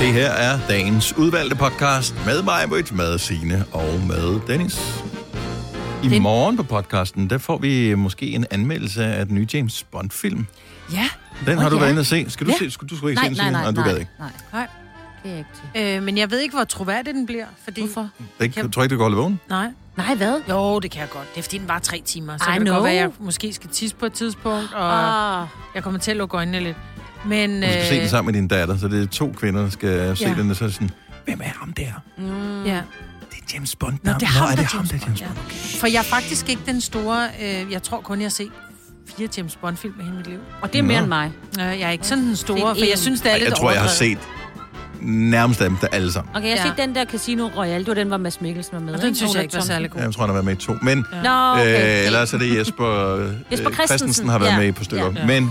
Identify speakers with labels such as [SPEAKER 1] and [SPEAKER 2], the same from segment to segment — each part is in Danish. [SPEAKER 1] Det her er dagens udvalgte podcast med mig, Britt, med Signe og med Dennis. I
[SPEAKER 2] Det-
[SPEAKER 1] morgen på podcasten, der får vi måske en anmeldelse af den nye James Bond-film.
[SPEAKER 2] Ja.
[SPEAKER 1] Den har
[SPEAKER 2] Åh,
[SPEAKER 1] du
[SPEAKER 2] ja.
[SPEAKER 1] været inde og se. Skal du,
[SPEAKER 2] Ja.
[SPEAKER 1] se, skulle, du skulle ikke
[SPEAKER 2] Nej,
[SPEAKER 1] se den,
[SPEAKER 2] nej,
[SPEAKER 1] Signe?
[SPEAKER 2] nej,
[SPEAKER 1] du
[SPEAKER 2] nej,
[SPEAKER 1] gad ikke.
[SPEAKER 2] nej.
[SPEAKER 3] Nej.
[SPEAKER 2] Det er ikke til.
[SPEAKER 3] Øh, men jeg ved ikke, hvor troværdig den bliver, fordi...
[SPEAKER 2] Hvorfor?
[SPEAKER 1] Det er ikke- Jeg tror ikke, du kan holde vågen.
[SPEAKER 3] Nej.
[SPEAKER 2] Nej, hvad?
[SPEAKER 3] Jo, det kan jeg godt. Det er fordi, den var tre timer. Så
[SPEAKER 2] I
[SPEAKER 3] I kan det
[SPEAKER 2] know.
[SPEAKER 3] godt være, at jeg måske skal tisse på et tidspunkt, og
[SPEAKER 2] Ah.
[SPEAKER 3] jeg kommer til at lukke øjnene lidt. Men,
[SPEAKER 1] Du skal se den
[SPEAKER 3] øh,
[SPEAKER 1] sammen med din datter, så det er to kvinder, der skal se
[SPEAKER 3] Ja.
[SPEAKER 1] den. Og så er det sådan, hvem er ham der?
[SPEAKER 2] Mm.
[SPEAKER 3] ja.
[SPEAKER 1] Det er James Bond.
[SPEAKER 3] Nå, det er ham,
[SPEAKER 1] Nå, er
[SPEAKER 3] der
[SPEAKER 1] det
[SPEAKER 3] er
[SPEAKER 1] ham, der er James Bond.
[SPEAKER 3] For jeg er faktisk ikke den store... Øh, jeg tror kun, jeg har set fire James Bond-film i hele mit liv.
[SPEAKER 2] Og det er mere
[SPEAKER 1] Nå.
[SPEAKER 2] end mig.
[SPEAKER 3] Øh, jeg er ikke sådan den store,
[SPEAKER 2] Fint
[SPEAKER 3] for
[SPEAKER 2] en.
[SPEAKER 3] jeg synes, det er
[SPEAKER 1] Ej,
[SPEAKER 3] lidt
[SPEAKER 1] Jeg tror, jeg har
[SPEAKER 3] overdrevet.
[SPEAKER 1] set nærmest dem, der alle sammen.
[SPEAKER 2] Okay, jeg har
[SPEAKER 3] Ja.
[SPEAKER 2] set den der Casino Royale. Det var den, hvor Mads Mikkelsen var med.
[SPEAKER 3] Og
[SPEAKER 2] ikke?
[SPEAKER 3] den synes jeg
[SPEAKER 2] Ole
[SPEAKER 3] ikke var
[SPEAKER 2] Thomsen.
[SPEAKER 3] særlig god.
[SPEAKER 1] Jeg tror, han har været med i to. Men
[SPEAKER 2] Nå, okay.
[SPEAKER 1] Øh, ellers er det Jesper, øh,
[SPEAKER 2] Jesper
[SPEAKER 1] øh, Christensen har været
[SPEAKER 2] Christensen,
[SPEAKER 1] med
[SPEAKER 2] ja.
[SPEAKER 1] i på stykker.
[SPEAKER 3] Ja.
[SPEAKER 1] Men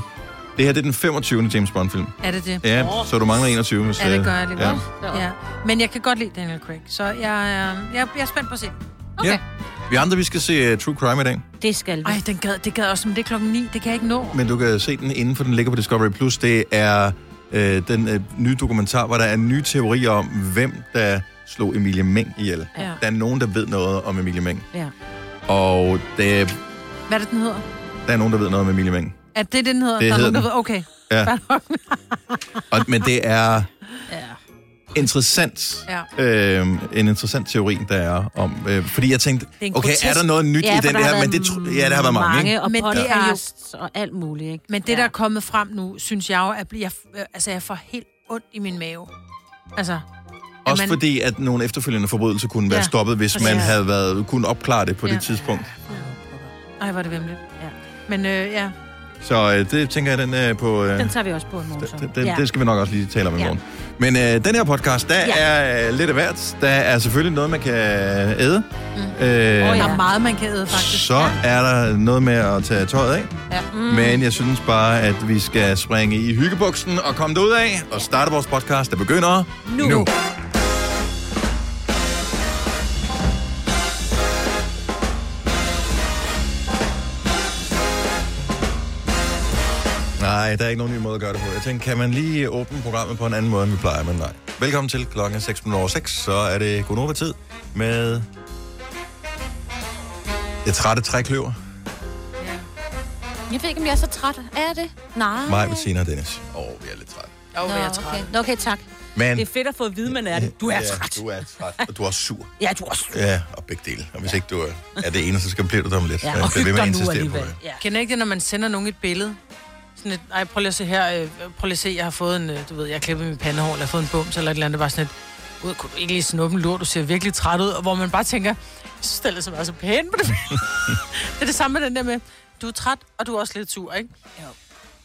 [SPEAKER 1] det her det er den 25. James Bond-film.
[SPEAKER 3] Er det det?
[SPEAKER 1] Ja, så du mangler 21. Hvis,
[SPEAKER 3] Ja, det
[SPEAKER 1] øh,
[SPEAKER 3] gør jeg lige
[SPEAKER 1] ja.
[SPEAKER 3] ja. ja. Men jeg kan godt lide Daniel Craig, så jeg, øh, jeg, jeg er spændt på at se.
[SPEAKER 2] Okay.
[SPEAKER 1] Ja. Vi andre, vi skal se uh, True Crime i dag.
[SPEAKER 2] Det skal vi.
[SPEAKER 3] Ej, den gad, det gad også, men det er klokken 9. Det kan jeg ikke nå.
[SPEAKER 1] Men du kan se den inden, for den ligger på Discovery+. Plus. Det er øh, den øh, nye dokumentar, hvor der er nye teorier om, hvem der slog Emilie Meng ihjel.
[SPEAKER 3] Ja.
[SPEAKER 1] Der er nogen, der ved noget om Emilie Meng.
[SPEAKER 2] Ja.
[SPEAKER 1] Og det, er-
[SPEAKER 3] Hvad er det, den hedder?
[SPEAKER 1] der er nogen, der ved noget om Emilie Meng.
[SPEAKER 3] Er det det, den hedder?
[SPEAKER 1] Det
[SPEAKER 3] der er
[SPEAKER 1] hedder
[SPEAKER 3] nogen, der
[SPEAKER 1] den.
[SPEAKER 3] ved- Okay.
[SPEAKER 1] Ja. Og, men det er
[SPEAKER 2] Ja.
[SPEAKER 1] interessant.
[SPEAKER 3] Ja.
[SPEAKER 1] øh, en interessant teori, der er om... Øh, fordi jeg tænkte,
[SPEAKER 3] er en
[SPEAKER 1] okay,
[SPEAKER 3] grotesk-
[SPEAKER 1] er der noget nyt i
[SPEAKER 2] for
[SPEAKER 1] den
[SPEAKER 2] der
[SPEAKER 1] der?
[SPEAKER 2] har
[SPEAKER 1] Men det,
[SPEAKER 2] været
[SPEAKER 1] tro- ja, der har været mange,
[SPEAKER 2] mange
[SPEAKER 1] ikke?
[SPEAKER 2] og
[SPEAKER 3] Men
[SPEAKER 2] men
[SPEAKER 3] det er jo-
[SPEAKER 2] podcasts og alt muligt, ikke?
[SPEAKER 3] Men det, der er kommet frem nu, synes jeg jo, at jeg, altså, jeg får helt ondt i min mave. Altså,
[SPEAKER 1] Også
[SPEAKER 3] man-
[SPEAKER 1] fordi, at nogle efterfølgende forbrydelser kunne være
[SPEAKER 3] Ja,
[SPEAKER 1] stoppet, hvis man
[SPEAKER 3] præcis.
[SPEAKER 1] havde været, kunne opklare det på
[SPEAKER 3] Ja.
[SPEAKER 1] det tidspunkt.
[SPEAKER 3] nej, var det vemmeligt.
[SPEAKER 2] Ja.
[SPEAKER 3] Men øh, ja,
[SPEAKER 1] Så øh, det tænker jeg, den er på... Øh,
[SPEAKER 2] Den tager vi også på en morgen, så.
[SPEAKER 1] det, det,
[SPEAKER 2] ja.
[SPEAKER 1] det skal vi nok også lige tale om i
[SPEAKER 2] Ja.
[SPEAKER 1] morgen. Men øh, den her podcast, der
[SPEAKER 2] Ja.
[SPEAKER 1] er øh, lidt af hvert. Der er selvfølgelig noget, man kan æde. Mm. Øh,
[SPEAKER 2] Åh,
[SPEAKER 3] der
[SPEAKER 2] ja.
[SPEAKER 3] er meget, man kan æde, faktisk.
[SPEAKER 1] Så er der noget med at tage tøjet af.
[SPEAKER 3] Ja.
[SPEAKER 2] Mm.
[SPEAKER 1] Mm. Men jeg synes bare, at vi skal springe i hyggebuksen og komme derud af og starte vores podcast, der begynder nu. nu. Nej, der er ikke nogen ny måde at gøre det på. Jeg tænkte, kan man lige åbne programmet på en anden måde, end vi plejer, men nej. Velkommen til klokken 6.06, så er det Gunova-tid med det trætte trækløver.
[SPEAKER 2] Jeg ved ikke, om jeg er så træt. Er det? Nej.
[SPEAKER 1] Mig, Bettina og Dennis. Åh, oh, vi er lidt trætte.
[SPEAKER 3] Jo,
[SPEAKER 2] Nå,
[SPEAKER 3] jeg er træt.
[SPEAKER 2] okay. Nå, okay, tak.
[SPEAKER 1] Men,
[SPEAKER 4] Det er fedt at få at vide, man er det. Du er
[SPEAKER 1] ja,
[SPEAKER 4] træt.
[SPEAKER 1] Du er træt, og du er sur.
[SPEAKER 4] Ja, du er også
[SPEAKER 1] Øh, Ja, og begge dele. Og hvis ikke du er- er det ene, så skal bliver du dem lidt.
[SPEAKER 2] Ja,
[SPEAKER 1] Men
[SPEAKER 2] og
[SPEAKER 1] det vil
[SPEAKER 4] hyg
[SPEAKER 1] man
[SPEAKER 4] dig nu
[SPEAKER 1] insistere på.
[SPEAKER 4] alligevel.
[SPEAKER 1] ja.
[SPEAKER 4] Ja.
[SPEAKER 3] Kender I ikke det, når man sender nogen et billede? Sådan et, ej, prøv lige at se her, øh, prøv lige at se, jeg har fået en, øh, du ved, jeg har klippet min pandehår, eller jeg har fået en bums, eller et eller andet, bare sådan et, ud, kunne du ikke lige snuppe en lur, du ser virkelig træt ud, og hvor man bare tænker, jeg synes, det er så meget så pæn på det billede." Det er det samme med den der med, du er træt, og du er også lidt sur, ikke?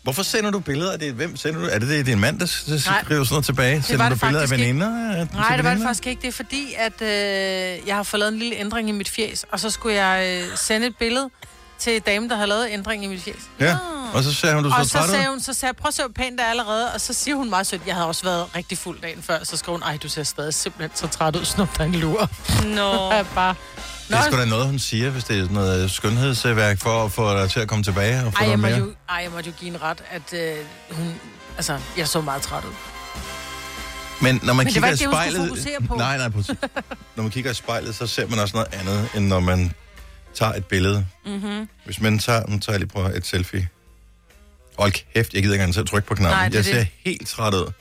[SPEAKER 1] Hvorfor sender du billeder af det? Hvem sender du? Er det, det din mand, der s- der skriver sådan noget tilbage? Sender
[SPEAKER 3] var
[SPEAKER 1] du
[SPEAKER 3] det
[SPEAKER 1] billeder af
[SPEAKER 3] faktisk ikke.
[SPEAKER 1] veninder? Nej,
[SPEAKER 3] Nej, det var det faktisk ikke. Det er fordi, at øh, jeg har fået lavet en lille ændring i mit fjes, og så skulle jeg øh, sende et billede til damen, der havde lavet ændring i mit fjes.
[SPEAKER 1] Ja, Mm. og så sagde hun, du så
[SPEAKER 3] Og så
[SPEAKER 1] træt
[SPEAKER 3] sagde
[SPEAKER 1] ud.
[SPEAKER 3] hun, så sagde jeg, prøv at se, hvor pænt der er allerede. Og så siger hun meget sødt, jeg havde også været rigtig fuld dagen før. Så skrev hun, ej, du ser stadig simpelthen så træt ud, snup dig en lur.
[SPEAKER 4] Nå.
[SPEAKER 3] Og jeg bare,
[SPEAKER 1] Det er sgu da noget, hun siger, hvis det er sådan noget øh, skønhedsværk for at få dig til at komme tilbage og få
[SPEAKER 3] ej,
[SPEAKER 1] noget
[SPEAKER 3] jeg måtte
[SPEAKER 1] mere.
[SPEAKER 3] jo, ej, jeg måtte jo give en ret, at øh, hun... Altså, jeg så meget træt ud.
[SPEAKER 1] Men når man
[SPEAKER 3] Men det
[SPEAKER 1] kigger
[SPEAKER 3] var
[SPEAKER 1] i
[SPEAKER 3] ikke det, hun skulle
[SPEAKER 1] spejlet...
[SPEAKER 3] fokusere på.
[SPEAKER 1] Nej, nej, præcis. Når man kigger i spejlet, så ser man også noget andet, end når man tager et billede. Mm-hmm. Hvis man tager, nu tager jeg lige på et selfie. Hold kæft, jeg gider ikke engang til at trykke på knappen.
[SPEAKER 3] Nej,
[SPEAKER 1] Nej,
[SPEAKER 3] det er
[SPEAKER 1] jeg ser
[SPEAKER 3] det.
[SPEAKER 1] helt træt ud.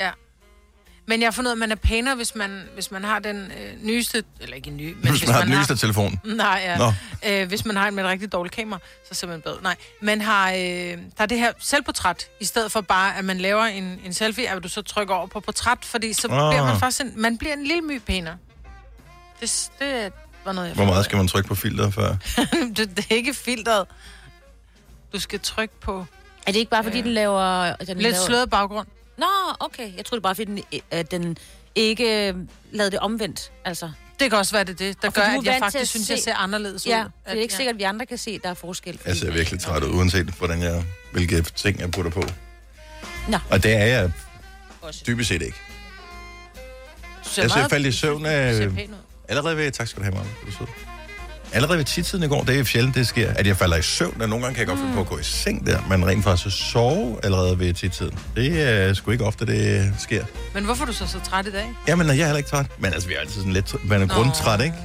[SPEAKER 3] Men jeg har fundet ud af, at man er pænere, hvis man, hvis man har den øh, nyeste... Eller ikke en ny, men
[SPEAKER 1] Men hvis man har den nyeste telefon.
[SPEAKER 3] Nej, ja.
[SPEAKER 1] Nå.
[SPEAKER 3] Øh, hvis man har en med et rigtig dårligt kamera, så ser man bedre. ud. Nej, man har, øh, der er det her selvportræt, i stedet for bare, at man laver en, en selfie, at du så trykker over på portræt, fordi så
[SPEAKER 1] Ah.
[SPEAKER 3] oh. bliver man faktisk en, man bliver en lille my pænere. Det, s- det var noget, jeg
[SPEAKER 1] Hvor meget skal man trykke på filteret før?
[SPEAKER 3] fandt. det, det er ikke filtret. Du skal trykke på Øh.
[SPEAKER 2] Er det ikke bare, fordi den laver... Den
[SPEAKER 3] lidt
[SPEAKER 2] laver...
[SPEAKER 3] sløret baggrund.
[SPEAKER 2] Nå, okay. Jeg troede det bare, fordi den, at den ikke øh, lavede det omvendt. Altså, det
[SPEAKER 3] Det kan også være, det er det, der
[SPEAKER 2] Og
[SPEAKER 3] gør,
[SPEAKER 2] fordi du er
[SPEAKER 3] at jeg
[SPEAKER 2] vant til at
[SPEAKER 3] faktisk synes, jeg
[SPEAKER 2] se-
[SPEAKER 3] ser anderledes
[SPEAKER 2] ja,
[SPEAKER 3] ud.
[SPEAKER 2] det er ikke sikkert, at vi andre kan se, at der er forskel.
[SPEAKER 1] Jeg ser virkelig træt ud, uanset hvordan jeg, hvilke ting jeg putter på.
[SPEAKER 2] Nå.
[SPEAKER 1] Og det er jeg dybest set ikke.
[SPEAKER 3] Du ser
[SPEAKER 1] Jeg ser
[SPEAKER 3] meget-
[SPEAKER 1] faldt i søvn af- øh,
[SPEAKER 3] du ser pæn ud.
[SPEAKER 1] Allerede ved, tak skal du have, Marve. Du er sød. allerede ved tidtiden i går, det er sjældent, det sker, at jeg falder i søvn, og nogle gange kan jeg godt finde på at gå i seng der, men rent faktisk at sove allerede ved tidtiden. Det er sgu ikke ofte, det øh, sker.
[SPEAKER 3] Men hvorfor er du så så træt i dag?
[SPEAKER 1] Jamen, jeg er heller ikke træt. Men altså, vi er altid sådan lidt... træ- Man er
[SPEAKER 3] Nå.
[SPEAKER 1] grundtræt, ikke?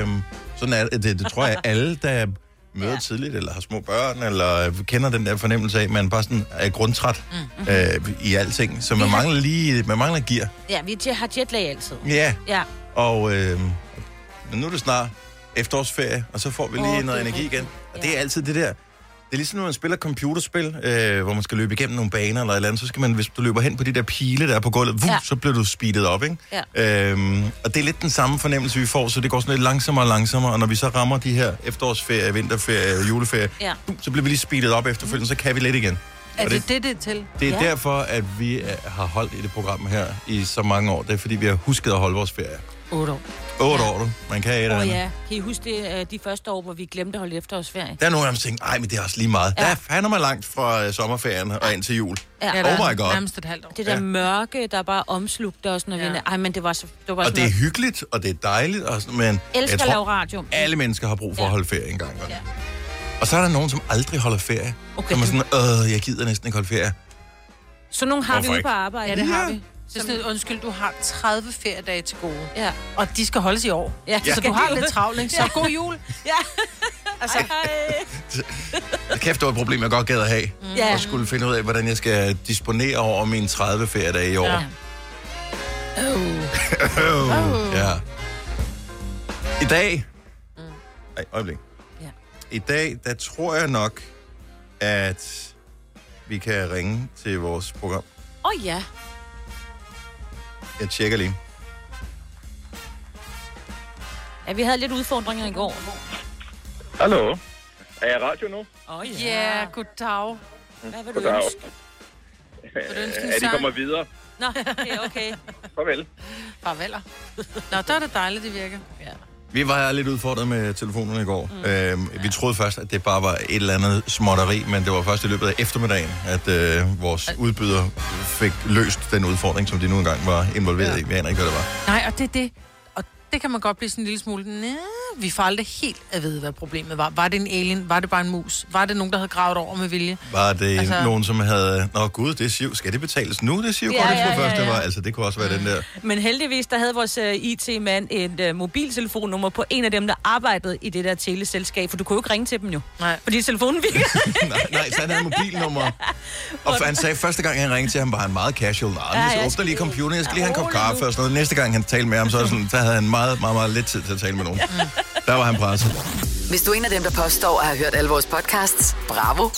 [SPEAKER 1] Øhm, sådan er det. det. Det tror jeg, alle, der møder ja. tidligt, eller har små børn, eller øh, kender den der fornemmelse af, at man bare sådan er grundtræt mm. øh, i alting. Så man
[SPEAKER 2] Vi har-
[SPEAKER 1] mangler lige... Man mangler gear.
[SPEAKER 2] Ja, vi je- har jetlag altid.
[SPEAKER 1] Ja,
[SPEAKER 2] Ja.
[SPEAKER 1] og... Øh, men nu er det snart efterårsferie, og så får vi lige
[SPEAKER 2] Åh,
[SPEAKER 1] oh, noget
[SPEAKER 2] det er
[SPEAKER 1] energi
[SPEAKER 2] rigtigt.
[SPEAKER 1] igen. Og det er altid det der... Det er ligesom, når man spiller computerspil, øh, hvor man skal løbe igennem nogle baner eller et eller andet, så skal man, hvis du løber hen på de der pile, der er på gulvet, vuh,
[SPEAKER 2] Ja.
[SPEAKER 1] ja. så bliver du speedet op, ikke?
[SPEAKER 2] ja.
[SPEAKER 1] Øhm, og det er lidt den samme fornemmelse, vi får, så det går sådan lidt langsommere og langsommere, og når vi så rammer de her efterårsferie, vinterferie, juleferie,
[SPEAKER 2] Ja.
[SPEAKER 1] bum, så bliver vi lige speedet op efterfølgende, så kan vi lidt igen.
[SPEAKER 3] Er
[SPEAKER 1] Og
[SPEAKER 3] det det, det er til?
[SPEAKER 1] Det er
[SPEAKER 2] Ja.
[SPEAKER 1] ja. derfor, at vi øh, har holdt i det program her i så mange år. Det er, fordi vi har husket at holde vores ferie.
[SPEAKER 3] 8 år.
[SPEAKER 1] 8 år, du. Man kan et eller
[SPEAKER 2] Åh
[SPEAKER 1] andet.
[SPEAKER 2] ja, kan I huske det, øh, de første år, hvor vi glemte at holde efterårsferie?
[SPEAKER 1] Der er nogle af dem, der tænker, ej, men det er også lige meget.
[SPEAKER 2] Ja.
[SPEAKER 1] Ja. Der er fandme langt fra øh, sommerferien og ind til jul. Oh
[SPEAKER 2] Ja.
[SPEAKER 3] Ja, der er
[SPEAKER 1] my God.
[SPEAKER 3] Nærmest et halvt år.
[SPEAKER 2] Det der ja.
[SPEAKER 1] Ja.
[SPEAKER 2] mørke, der bare omslugte os, når ja. vi...
[SPEAKER 3] Ja.
[SPEAKER 2] Ej, men det var, så, det var
[SPEAKER 1] Og det er
[SPEAKER 2] noget,
[SPEAKER 1] hyggeligt, og det er dejligt, og sådan, men
[SPEAKER 2] jeg elsker at lave radio.
[SPEAKER 1] alle mennesker har brug for
[SPEAKER 2] Ja.
[SPEAKER 1] at holde ferie en gang.
[SPEAKER 2] Ja.
[SPEAKER 1] Ja. Og så er der nogen, som aldrig holder ferie.
[SPEAKER 2] Okay.
[SPEAKER 1] Okay. Som er sådan, øh, jeg gider næsten ikke holde ferie.
[SPEAKER 2] Så nogle har vi
[SPEAKER 1] Hvorfor
[SPEAKER 2] ude
[SPEAKER 1] ikke?
[SPEAKER 2] på arbejde.
[SPEAKER 3] Ja, det har
[SPEAKER 1] Ja.
[SPEAKER 3] vi. Så sådan, lidt, undskyld, du har 30 feriedage til gode.
[SPEAKER 2] Ja.
[SPEAKER 3] Og de skal holdes i år.
[SPEAKER 2] Ja.
[SPEAKER 3] Så du har lidt travlt, ikke? Så god jul.
[SPEAKER 1] Kæft, det var et problem, jeg godt gad at have. Mm.
[SPEAKER 2] Ja.
[SPEAKER 1] Og skulle finde ud af, hvordan jeg skal disponere over mine 30 feriedage i år.
[SPEAKER 3] Ja.
[SPEAKER 1] Ja. Oh. ja. I dag... Ej, øjeblik.
[SPEAKER 2] Mm. Ja.
[SPEAKER 1] I dag, der tror jeg nok, at vi kan ringe til vores program.
[SPEAKER 2] Åh oh, ja.
[SPEAKER 1] Jeg tjekker lige.
[SPEAKER 2] ja. vi havde lidt udfordringer i går.
[SPEAKER 5] Hallo. Er jeg i radio nu?
[SPEAKER 2] Åh oh,
[SPEAKER 3] Ja, goddag.
[SPEAKER 2] Hvad vil du
[SPEAKER 5] Goddag.
[SPEAKER 2] ønske?
[SPEAKER 3] Vil du ønske en
[SPEAKER 5] Er de
[SPEAKER 3] sang?
[SPEAKER 5] kommer videre?
[SPEAKER 2] Nå, okay, okay.
[SPEAKER 5] Farvel.
[SPEAKER 3] Farveler. Nå, der er det dejligt, det virker. Ja.
[SPEAKER 1] Vi var lidt udfordret med telefonerne i går. Mm. Øhm, vi troede først, at det bare var et eller andet småtteri, men det var først i løbet af eftermiddagen, at øh, vores udbyder fik løst den udfordring, som de nu engang var involveret ja. i. Vi aner ikke, hvad det var.
[SPEAKER 3] Nej, og det er det. Og det kan man godt blive sådan en lille smule... Næh, vi får aldrig helt at vide, hvad problemet var. Var det en alien? Var det bare en mus? Var det nogen, der havde gravet over med vilje?
[SPEAKER 1] Var det
[SPEAKER 3] Altså-
[SPEAKER 1] altså... nogen, som havde... Nå gud, det er siv. Skal det betales nu, det er siv? Ja, ja, ja, ja. Det var. Altså, det kunne også være den der...
[SPEAKER 2] Men heldigvis, der havde vores uh, IT-mand et uh, mobiltelefonnummer på en af dem, der arbejdede i det der teleselskab, for du kunne jo ikke ringe til dem jo.
[SPEAKER 3] Nej.
[SPEAKER 2] Fordi telefonen virker.
[SPEAKER 1] nej, nej, så han havde mobilnummer. Og han sagde, første gang han ringede til ham, var han meget casual. Nej,
[SPEAKER 2] Ja,
[SPEAKER 1] jeg
[SPEAKER 2] jeg
[SPEAKER 1] skal
[SPEAKER 2] skal
[SPEAKER 1] åbne lige
[SPEAKER 2] lige-
[SPEAKER 1] computeren, jeg skal lige
[SPEAKER 2] Ja,
[SPEAKER 1] have en kop
[SPEAKER 2] rolig nu.
[SPEAKER 1] kaffe og sådan noget. Næste gang han talte med ham, så, var det sådan, så havde han meget, meget, meget lidt tid til at tale med nogen. Der var han presset.
[SPEAKER 6] Hvis du er en af dem, der påstår at have hørt alle vores podcasts, bravo.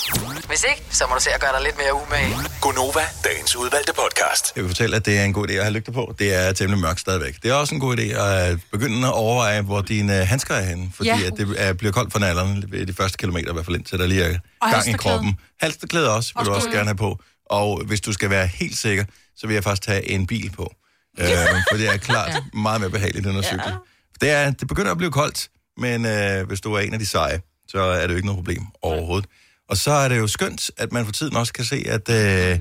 [SPEAKER 6] Hvis ikke, så må du se at gøre dig lidt mere umage.
[SPEAKER 7] Gunova, dagens udvalgte podcast.
[SPEAKER 1] Jeg vil fortælle, at det er en god idé at have lygter på. Det er temmelig mørkt stadigvæk. Det er også en god idé at begynde at overveje, hvor dine øh, handsker er henne. Fordi
[SPEAKER 3] Ja.
[SPEAKER 1] ja. at det er, bliver koldt for nallerne ved de første kilometer, i hvert fald indtil der lige er
[SPEAKER 3] Og
[SPEAKER 1] gang i
[SPEAKER 3] halstørklæde.
[SPEAKER 1] kroppen. Halsterklæde også, vil du også gerne have på. Og hvis du skal være helt sikker, så vil jeg faktisk tage en bil på. øh, for det er klart ja. meget mere behageligt end at cykle. Det, er, det begynder at blive koldt, men øh, hvis du er en af de seje, så er det jo ikke noget problem overhovedet. Og så er det jo skønt, at man for tiden også kan se, at... Øh,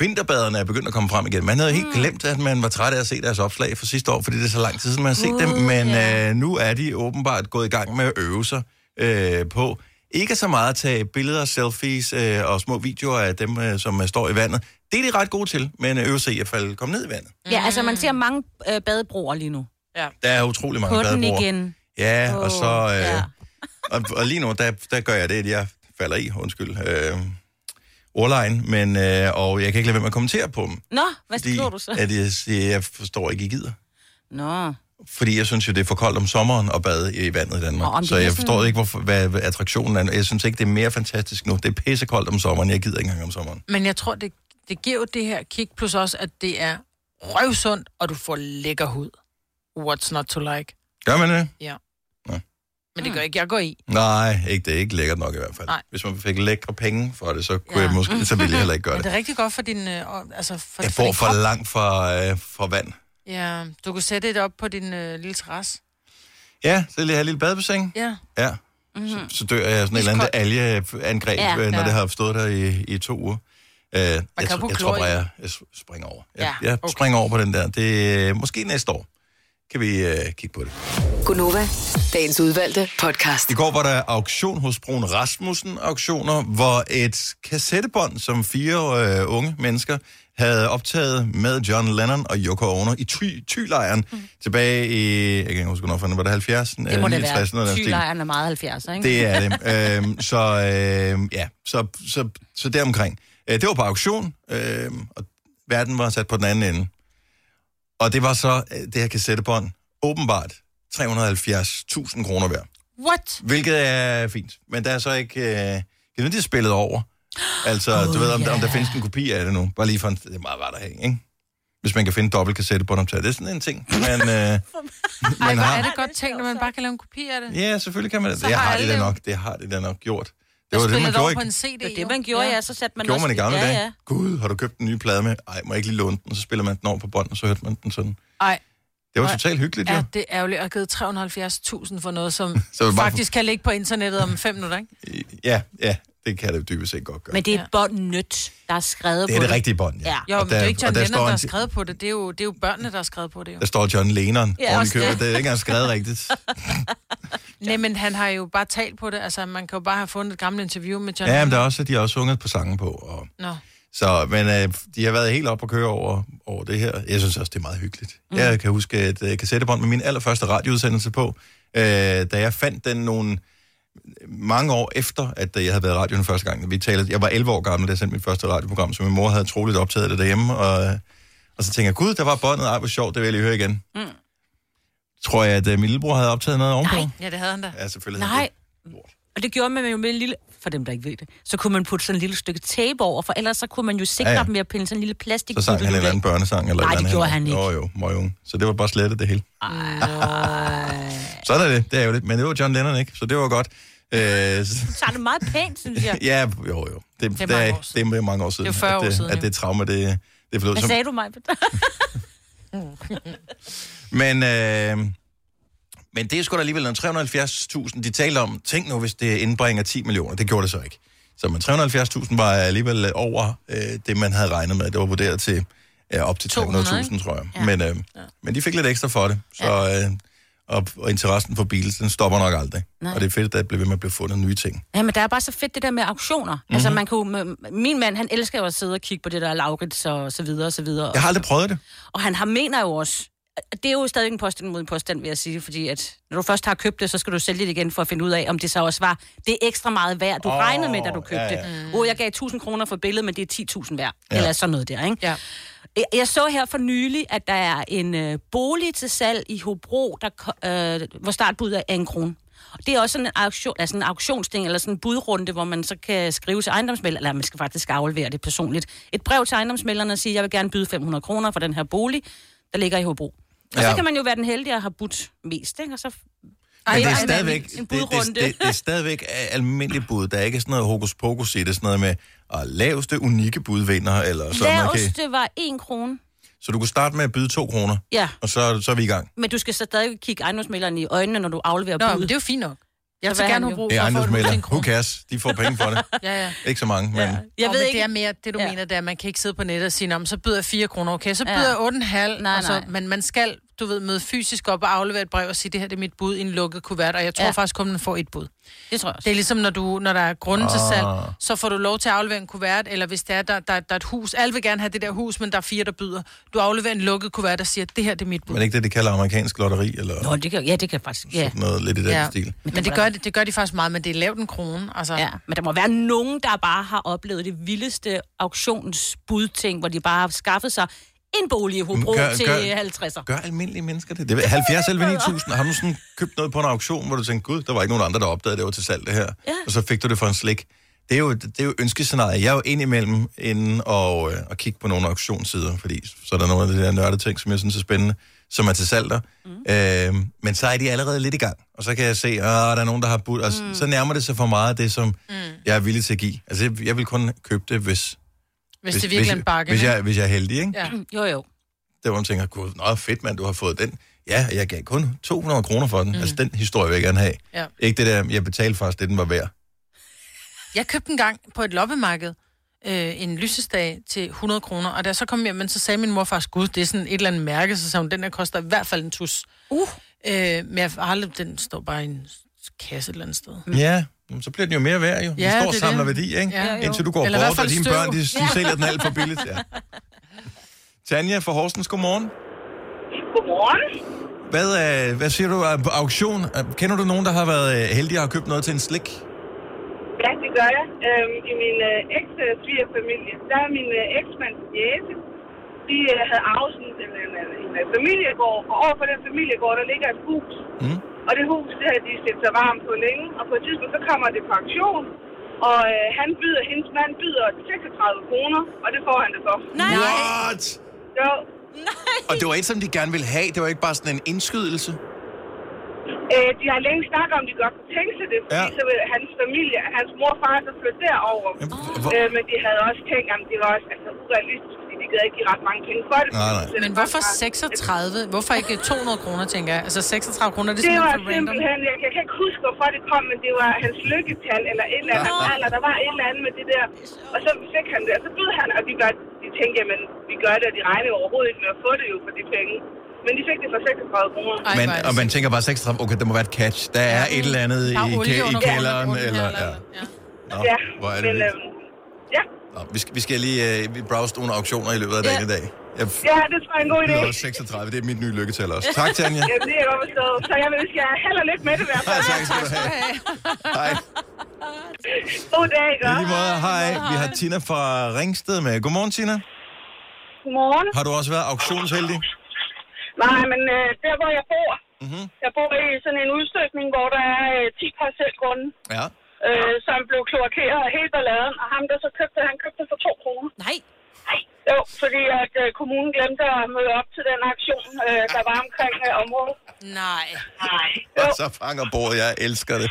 [SPEAKER 1] vinterbaderne er begyndt at komme frem igen. Man havde
[SPEAKER 2] Mm.
[SPEAKER 1] helt glemt, at man var træt af at se deres opslag for sidste år, fordi det er så lang tid siden, man har set dem. Men øh, nu er de åbenbart gået i gang med at øve sig øh, på ikke så meget at tage billeder, selfies øh, og små videoer af dem, øh, som øh, står i vandet. Det er de ret gode til, men øh, øve sig i at falde, komme ned i vandet.
[SPEAKER 2] ja, altså man ser mange uh, badebroer lige nu.
[SPEAKER 1] Der er utrolig mange
[SPEAKER 2] På den
[SPEAKER 1] badebroer.
[SPEAKER 2] igen.
[SPEAKER 1] Ja,
[SPEAKER 2] Åh,
[SPEAKER 1] og så... Øh,
[SPEAKER 2] ja.
[SPEAKER 1] ja. og, og lige nu, der, der gør jeg det, at jeg falder i, undskyld, øh, ordlejen, men, øh, og jeg kan ikke lade være med at kommentere på dem.
[SPEAKER 2] Nå, hvad
[SPEAKER 1] Fordi,
[SPEAKER 2] skriver du så?
[SPEAKER 1] At øh, jeg, siger, jeg forstår ikke, I gider.
[SPEAKER 2] Nå.
[SPEAKER 1] Fordi jeg synes jo, det er for koldt om sommeren at bade i vandet i Danmark.
[SPEAKER 2] Nå, om det
[SPEAKER 1] så
[SPEAKER 2] er
[SPEAKER 1] jeg
[SPEAKER 2] sådan-
[SPEAKER 1] forstår ikke, hvorfor, hvad, hvad attraktionen er. Jeg synes ikke, det er mere fantastisk nu. Det er pissekoldt om sommeren. Jeg gider ikke engang om sommeren.
[SPEAKER 3] Men jeg tror, det, det giver jo det her kick, plus også, at det er røvsundt, og du får lækker hud. What's not to like?
[SPEAKER 1] Gør man det?
[SPEAKER 3] Men det
[SPEAKER 1] Hmm.
[SPEAKER 3] gør ikke, jeg går i.
[SPEAKER 1] Nej, ikke, det er ikke lækkert nok i hvert fald.
[SPEAKER 3] Nej.
[SPEAKER 1] Hvis man fik lækre penge for det, så, kunne
[SPEAKER 3] Ja.
[SPEAKER 1] ja. jeg måske, så ville jeg heller ikke gøre
[SPEAKER 3] Men det
[SPEAKER 1] det.
[SPEAKER 3] er rigtig godt for din... Øh, og- altså for,
[SPEAKER 1] Jeg
[SPEAKER 3] for
[SPEAKER 1] bor
[SPEAKER 3] din
[SPEAKER 1] for
[SPEAKER 3] krop.
[SPEAKER 1] langt fra, øh, fra vand.
[SPEAKER 3] Ja, du kunne sætte det op på din øh, lille terrasse.
[SPEAKER 1] Ja, så vil jeg have et lille badebassin.
[SPEAKER 3] Ja.
[SPEAKER 1] Ja. Mm-hmm. Så, så dør jeg af sådan et eller andet algeangreb,
[SPEAKER 2] Ja.
[SPEAKER 1] ja, når
[SPEAKER 3] Ja.
[SPEAKER 1] det har stået der i, i to uger. Øh, jeg,
[SPEAKER 3] kan
[SPEAKER 1] tr-
[SPEAKER 3] putte
[SPEAKER 1] jeg
[SPEAKER 3] klor
[SPEAKER 1] tror
[SPEAKER 3] i.
[SPEAKER 1] bare, jeg, jeg s- springer over. Jeg,
[SPEAKER 3] Ja,
[SPEAKER 1] ja, jeg
[SPEAKER 3] okay.
[SPEAKER 1] springer over på den der. Det er måske næste år. kan vi øh, kigge på det.
[SPEAKER 6] Gunova, dagens udvalgte podcast.
[SPEAKER 1] I går var der auktion hos Brun Rasmussen Auktioner, hvor et kassettebånd, som fire øh, unge mennesker havde optaget med John Lennon og Yoko Ono i ty, Tylejren mm. tilbage i, jeg kan ikke huske, hvornår fanden var det, 70'erne?
[SPEAKER 2] Det må
[SPEAKER 1] Øh,
[SPEAKER 2] det
[SPEAKER 1] 69'erne, noget af
[SPEAKER 2] være.
[SPEAKER 1] den stil.
[SPEAKER 2] Tylejren er meget 70'er, ikke?
[SPEAKER 1] Det er det. Øhm, så øhm, ja, så, så, så deromkring. Øh, det var på auktion, øhm, og verden var sat på den anden ende. Og det var så øh, det her kassettebånd, åbenbart 370.000 kroner værd.
[SPEAKER 3] What?
[SPEAKER 1] Hvilket er fint, men der er så ikke... Øh, jeg ved, det er spillet over. Altså, oh, du ved, om, yeah. om der findes en kopi af det nu. Bare lige for en... Det er meget værd at have, ikke? Hvis man kan finde dobbelt kassette på dem, det er sådan en ting. Men, øh,
[SPEAKER 3] Ej,
[SPEAKER 1] man
[SPEAKER 3] hvor
[SPEAKER 1] har,
[SPEAKER 3] er det godt tænkt, når man bare kan lave en kopi af det.
[SPEAKER 1] Ja, selvfølgelig kan man det.
[SPEAKER 3] Så
[SPEAKER 1] Det
[SPEAKER 3] har
[SPEAKER 1] har det
[SPEAKER 3] alle
[SPEAKER 1] da
[SPEAKER 3] det jo.
[SPEAKER 1] nok, det har det da nok gjort. Det
[SPEAKER 3] Det
[SPEAKER 1] var
[SPEAKER 3] var
[SPEAKER 1] det, man gjorde,
[SPEAKER 3] på en
[SPEAKER 1] ikke?
[SPEAKER 3] CD.
[SPEAKER 2] Det var det, man gjorde, ja. Så satte man
[SPEAKER 1] gjorde
[SPEAKER 2] også...
[SPEAKER 1] man i gamle
[SPEAKER 2] ja,
[SPEAKER 1] dage.
[SPEAKER 2] Ja.
[SPEAKER 1] Gud, har du købt en ny plade med? Ej, må jeg ikke lige låne den? Og så spiller man den over på bånd, og så hørte man den sådan.
[SPEAKER 3] Ej,
[SPEAKER 1] Det var
[SPEAKER 3] Nej.
[SPEAKER 1] totalt hyggeligt, jo.
[SPEAKER 3] ja, det er ærgerligt at have givet 370.000 for noget, som
[SPEAKER 1] Så er det bare
[SPEAKER 3] faktisk kan ligge på internettet om fem minutter, ikke?
[SPEAKER 1] Ja, ja, det kan det dybest set godt gøre.
[SPEAKER 2] Men det er et bånd nødt, der er skrevet
[SPEAKER 1] Det er
[SPEAKER 2] på
[SPEAKER 1] det rigtige bånd, ja.
[SPEAKER 2] Ja.
[SPEAKER 3] Jo,
[SPEAKER 1] Og
[SPEAKER 3] men det er jo ikke
[SPEAKER 1] og
[SPEAKER 3] John Lennon, der
[SPEAKER 1] en-
[SPEAKER 3] har skrevet på det. Det er, jo, det er jo børnene, der har skrevet på det. Jo.
[SPEAKER 1] Der står John Lennon
[SPEAKER 2] Ja,
[SPEAKER 1] ja, oven i
[SPEAKER 2] også
[SPEAKER 1] købet.
[SPEAKER 2] det.
[SPEAKER 1] Det er ikke engang skrevet rigtigt.
[SPEAKER 3] Nej, men han har jo bare talt på det. Altså, man kan jo bare have fundet et gammelt interview med John
[SPEAKER 1] Ja, men
[SPEAKER 3] Lennon.
[SPEAKER 1] der er også, de har også sunget på sangen på. Og,
[SPEAKER 3] Nå.
[SPEAKER 1] så, men øh, de har været helt op og køre over, over det her. Jeg synes også, det er meget hyggeligt. Mm. Jeg kan huske et øh, kassettebånd med min allerførste radioudsendelse på, øh, da jeg fandt den nogle mange år efter, at øh, jeg havde været i radioen første gang. Vi talte, jeg var 11 år gammel, da jeg sendte mit første radioprogram, så min mor havde troligt optaget det derhjemme. Og, øh, og så tænkte jeg, gud, der var båndet. Ej, hvor sjovt, det vil jeg lige høre igen. Mm. Tror jeg, at øh, min lillebror havde optaget noget ovenpå? Nej.
[SPEAKER 3] Ja, det havde han da.
[SPEAKER 1] Ja, selvfølgelig. havde
[SPEAKER 2] Nej. Og det gjorde man jo med en lille... For dem, der ikke ved det. Så kunne man putte sådan en lille stykke tape over, for ellers så kunne man jo sikre
[SPEAKER 1] Ja,
[SPEAKER 2] ja,
[SPEAKER 1] ja.
[SPEAKER 2] ja. dem ved at pille sådan en lille plastik.
[SPEAKER 1] Så sang han en eller anden børnesang. Eller
[SPEAKER 2] Nej,
[SPEAKER 1] et eller
[SPEAKER 2] det gjorde han ikke.
[SPEAKER 1] Jo, jo, møgung. Så det var bare slettet det hele. Sådan er det, det er jo det. Men det var John Lennon, ikke? Så det var godt. Øh, s-
[SPEAKER 2] Så er det meget pænt, synes jeg.
[SPEAKER 1] ja, jo, jo. Det, det, er,
[SPEAKER 3] mange
[SPEAKER 1] ikke-
[SPEAKER 3] år siden.
[SPEAKER 1] det er mange år siden.
[SPEAKER 3] Det er 40
[SPEAKER 1] at
[SPEAKER 3] år
[SPEAKER 1] det,
[SPEAKER 3] siden,
[SPEAKER 1] At
[SPEAKER 3] jo.
[SPEAKER 1] det trauma, det, det forlod
[SPEAKER 2] Hvad
[SPEAKER 1] som.
[SPEAKER 2] sagde du, mig?
[SPEAKER 1] Men, øh, men det er sgu da alligevel noget. 370.000, de talte om, tænk nu, hvis det indbringer 10 millioner. Det gjorde det så ikke. Så men 370.000 var alligevel over øh, det, man havde regnet med. Det var vurderet til øh, op til
[SPEAKER 3] 200,
[SPEAKER 1] 300.000, tror jeg. Ja. Men, øh, ja. men de fik lidt ekstra for det. Så, øh, og, og interessen for bilen, den stopper nok aldrig. Nej. Og det er fedt, at der bliver ved med at blive fundet nye ting.
[SPEAKER 2] Ja, men der er bare så fedt det der med auktioner. Mm-hmm.
[SPEAKER 1] Mhm.
[SPEAKER 2] Altså, man kunne, min mand, han elsker jo at sidde og kigge på det der Laurits og så videre og så videre.
[SPEAKER 1] Jeg har aldrig prøvet det.
[SPEAKER 2] Og han har mener jo også, at det er jo stadig en påstand mod en påstand, vil jeg sige, fordi at når du først har købt det, så skal du sælge det igen for at finde ud af, om det så også var det ekstra meget værd, du
[SPEAKER 1] Åh,
[SPEAKER 2] oh, regnede med, da du købte
[SPEAKER 1] ja,
[SPEAKER 2] ja,
[SPEAKER 1] ja.
[SPEAKER 2] ja. det. Åh, oh, jeg gav 1000 kroner for billedet, men det er 10.000 værd,
[SPEAKER 1] Ja.
[SPEAKER 2] ja. eller sådan noget der, ikke?
[SPEAKER 3] Ja.
[SPEAKER 2] Jeg- Jeg så her for nylig, at der er en øh, bolig til salg i Hobro, der, ko- øh, hvor startbuddet er en krone. Og Det er også sådan en, auktion, altså en auktionsting, eller sådan en budrunde, hvor man så kan skrive til ejendomsmælder, eller man skal faktisk aflevere det personligt. Et brev til ejendomsmælderne og sige, jeg vil gerne byde 500 kroner for den her bolig, der ligger i Hobro. Og ja.
[SPEAKER 1] Ja.
[SPEAKER 2] så kan man jo være den heldige at have budt mest, ikke? Og så
[SPEAKER 1] Men det er
[SPEAKER 2] ej, men
[SPEAKER 1] stadigvæk,
[SPEAKER 2] en
[SPEAKER 1] det, det,
[SPEAKER 2] budrunde.
[SPEAKER 1] det, det er stadigvæk øh, almindeligt bud. Der er ikke sådan noget hokus pokus i det. Sådan noget med at laveste unikke budvinder. Eller sådan noget. Okay.
[SPEAKER 2] laveste var 1 krone.
[SPEAKER 1] Så du kunne starte med at byde to kroner,
[SPEAKER 2] Ja,
[SPEAKER 1] og så, så er vi i gang.
[SPEAKER 2] men du skal så stadig kigge ejendomsmælderen i øjnene, når du afleverer
[SPEAKER 3] Nå, men
[SPEAKER 2] budet.
[SPEAKER 3] det er jo fint nok. Jeg vil
[SPEAKER 2] Så
[SPEAKER 3] så
[SPEAKER 2] hvad
[SPEAKER 3] gerne
[SPEAKER 2] har
[SPEAKER 3] have
[SPEAKER 2] han
[SPEAKER 3] brug
[SPEAKER 1] Det er
[SPEAKER 3] for at få
[SPEAKER 1] ejendomsmælder.
[SPEAKER 3] en
[SPEAKER 1] Who
[SPEAKER 3] krone.
[SPEAKER 1] cares? De får penge for det.
[SPEAKER 3] Ja, ja.
[SPEAKER 1] Ikke så mange, men...
[SPEAKER 2] Jeg ved
[SPEAKER 3] men
[SPEAKER 2] ikke,
[SPEAKER 3] det er mere det, du
[SPEAKER 2] Ja.
[SPEAKER 3] ja. mener, det er, at man kan ikke sidde på nettet og sige, "Nå, men så byder jeg 4 kroner, okay, så
[SPEAKER 2] Ja.
[SPEAKER 3] byder jeg 8,5,
[SPEAKER 2] Nej,
[SPEAKER 3] og så,
[SPEAKER 2] nej.
[SPEAKER 3] men man skal, du ved, møde fysisk op og aflevere et brev og sige, det her det er mit bud i en lukket kuvert, og jeg tror
[SPEAKER 2] Ja.
[SPEAKER 3] ja. faktisk kun, man får et bud.
[SPEAKER 2] det tror jeg også.
[SPEAKER 3] Det er ligesom, når, du, når der er grunden til salg,
[SPEAKER 1] Ah.
[SPEAKER 3] så får du lov til at aflevere en kuvert, eller hvis der er, der, der, der er et hus, alle vil gerne have det der hus, men der er fire, der byder. Du afleverer en lukket kuvert og siger, det her det er mit bud.
[SPEAKER 1] Men ikke det, de kalder amerikansk lotteri, eller
[SPEAKER 2] Nå, det kan, ja, det kan faktisk... Ja.
[SPEAKER 1] sådan noget lidt i den
[SPEAKER 3] ja.
[SPEAKER 1] stil.
[SPEAKER 3] Men det gør, det, det gør de faktisk meget, men det er lavt en krone. Altså.
[SPEAKER 2] Ja, men der må være nogen, der bare har oplevet det vildeste auktionsbudting, hvor de bare har skaffet sig en bolig i Hobro
[SPEAKER 1] Gør-
[SPEAKER 2] til
[SPEAKER 1] gør-
[SPEAKER 2] 50'er.
[SPEAKER 1] Gør almindelige mennesker det? det er 70 11 9000. Har du sådan købt noget på en auktion, hvor du tænkte, gud, der var ikke nogen andre, der opdagede, det var til salg det her.
[SPEAKER 2] Ja.
[SPEAKER 1] Og så fik du det for en slik. Det er jo, det er jo ønskescenariet. Jeg er jo indimellem inde og, øh, og kigge på nogle auktionssider, fordi så er der nogle af de der nørdede ting, som jeg synes er spændende, som er til salg der. Mm. Øh, men så er de allerede lidt i gang, og så kan jeg se, at der er nogen, der har budt, og mm. så nærmer det sig for meget af det, som mm. jeg er villig til at give. Altså, jeg, jeg vil kun købe det, hvis...
[SPEAKER 3] Hvis, det virkelig er en bakke.
[SPEAKER 1] hvis,
[SPEAKER 3] ikke?
[SPEAKER 1] jeg, hvis jeg er heldig, ikke?
[SPEAKER 3] ja.
[SPEAKER 2] Jo, jo.
[SPEAKER 1] der hvor man tænker, gud, nå, fedt mand, du har fået den. Ja, jeg gav kun 200 kroner for den. Mm. Altså, den historie vil jeg gerne have.
[SPEAKER 3] Ja.
[SPEAKER 1] Ikke det der, jeg betalte faktisk det, den var værd.
[SPEAKER 3] Jeg købte en gang på et loppemarked øh, en lysestage til 100 kroner, og da jeg så kom hjem, men så sagde min mor faktisk, gud, det er sådan et eller andet mærke, så sagde hun, den der koster i hvert fald en tus.
[SPEAKER 2] Uh.
[SPEAKER 3] Øh, men jeg har aldrig, den står bare i en kasse et eller andet sted.
[SPEAKER 1] Ja, jamen, så bliver den jo mere værd, jo. Den
[SPEAKER 3] Mm. Ja,
[SPEAKER 1] står
[SPEAKER 3] det er
[SPEAKER 1] og samler
[SPEAKER 3] det.
[SPEAKER 1] værdi, ikke?
[SPEAKER 3] Ja, jo.
[SPEAKER 1] Indtil du går
[SPEAKER 3] Eller i
[SPEAKER 1] bort,
[SPEAKER 3] hvert
[SPEAKER 1] og
[SPEAKER 3] fald
[SPEAKER 1] dine
[SPEAKER 3] støv.
[SPEAKER 1] børn, de, de
[SPEAKER 3] Ja.
[SPEAKER 1] sælger den alt for billigt. Ja. Tanja fra Horsens, godmorgen.
[SPEAKER 8] Godmorgen.
[SPEAKER 1] Hvad, øh, hvad siger du øh, på auktion? Øh, Kender du nogen, der har været øh, heldige og har købt noget til en slik?
[SPEAKER 8] Ja, det gør jeg. Øhm, I min øh, eks-svigerfamilie, der er min øh, eksmands jæse. De øh, havde arvet sådan en, en, en, en øh, familiegård, og overfor den familiegård, der ligger et hus.
[SPEAKER 1] Mm.
[SPEAKER 8] Og det hus, det havde de set sig varmt på længe, og på et tidspunkt, så kommer det på auktion. Og øh, han byder, hendes mand byder 36 kroner, og det får han det for.
[SPEAKER 2] Nej.
[SPEAKER 1] What?
[SPEAKER 8] Jo,
[SPEAKER 1] Og det var et, som de gerne ville have. Det var ikke bare sådan en indskydelse.
[SPEAKER 8] øh, de har længe snakket om, de godt kunne tænke sig det, fordi
[SPEAKER 1] Ja.
[SPEAKER 8] ja. så vil hans familie, hans mor og far, så flytte derover.
[SPEAKER 1] Jamen, hvor-
[SPEAKER 8] Øh, men de havde også tænkt, at det var også altså, urealistisk, fordi de gad ikke give ret mange penge for det.
[SPEAKER 1] Nej, nej.
[SPEAKER 3] Men hvorfor 36? Hvorfor ikke 200 kroner, tænker jeg? Altså 36 kroner, det er
[SPEAKER 8] Det var
[SPEAKER 3] simpelthen for random.
[SPEAKER 8] simpelthen, jeg kan, jeg kan ikke huske, hvorfor det kom, men det var hans lykketal eller et eller andet, hans alder, der var et eller andet med det der. Og så fik han det, og så bød han, og de, gør, de tænkte, jamen, vi gør det, og de regnede overhovedet ikke med at få det jo for de penge. Men de fik det for 36 kroner.
[SPEAKER 3] Ej,
[SPEAKER 1] Men,
[SPEAKER 3] hvor er det
[SPEAKER 1] og man tænker bare 36, okay, der må være et catch. Der er et eller andet i,
[SPEAKER 3] Der er
[SPEAKER 1] i,
[SPEAKER 3] olie under
[SPEAKER 1] i
[SPEAKER 3] gulvet,
[SPEAKER 1] kælderen.
[SPEAKER 3] under
[SPEAKER 1] Eller,
[SPEAKER 3] eller-
[SPEAKER 1] ja.
[SPEAKER 3] ja.
[SPEAKER 1] Nå,
[SPEAKER 8] Ja,
[SPEAKER 1] hvor er det
[SPEAKER 8] men,
[SPEAKER 1] vildt.
[SPEAKER 8] øhm, ja.
[SPEAKER 1] Nå, vi, skal, vi skal lige øh, vi browse nogle auktioner i løbet af dagen i dag. Jeg f-
[SPEAKER 8] ja, det tror jeg er en god idé.
[SPEAKER 1] byder også 36, det er mit nye lykketal også. Tak, Tanja.
[SPEAKER 8] Jamen, det er jeg godt forstået. Så jeg vil ønske jer held og lykke med det i hvert
[SPEAKER 1] Hej,
[SPEAKER 8] fald.
[SPEAKER 1] tak skal du have. Hej.
[SPEAKER 8] God dag,
[SPEAKER 1] I
[SPEAKER 8] gør.
[SPEAKER 1] lige måde, hej. Vi har Tina fra Ringsted med. Godmorgen, Tina.
[SPEAKER 8] Godmorgen.
[SPEAKER 1] Har du også været auktionsheldig?
[SPEAKER 8] Nej, men øh, der hvor jeg bor,
[SPEAKER 1] Mhm.
[SPEAKER 8] mm-hmm. jeg bor i sådan en udstykning, hvor der er øh, 10 parcelgrunde,
[SPEAKER 1] Ja.
[SPEAKER 8] øh, som blev kloakeret af hele balladen, og ham der så købte, han købte det for 2 kroner.
[SPEAKER 2] Nej.
[SPEAKER 8] Jo, fordi at øh, kommunen glemte at møde op til den aktion, øh, der var omkring øh, området.
[SPEAKER 3] Nej.
[SPEAKER 8] Nej. Jo,
[SPEAKER 1] Og så fanger bordet, jeg elsker det.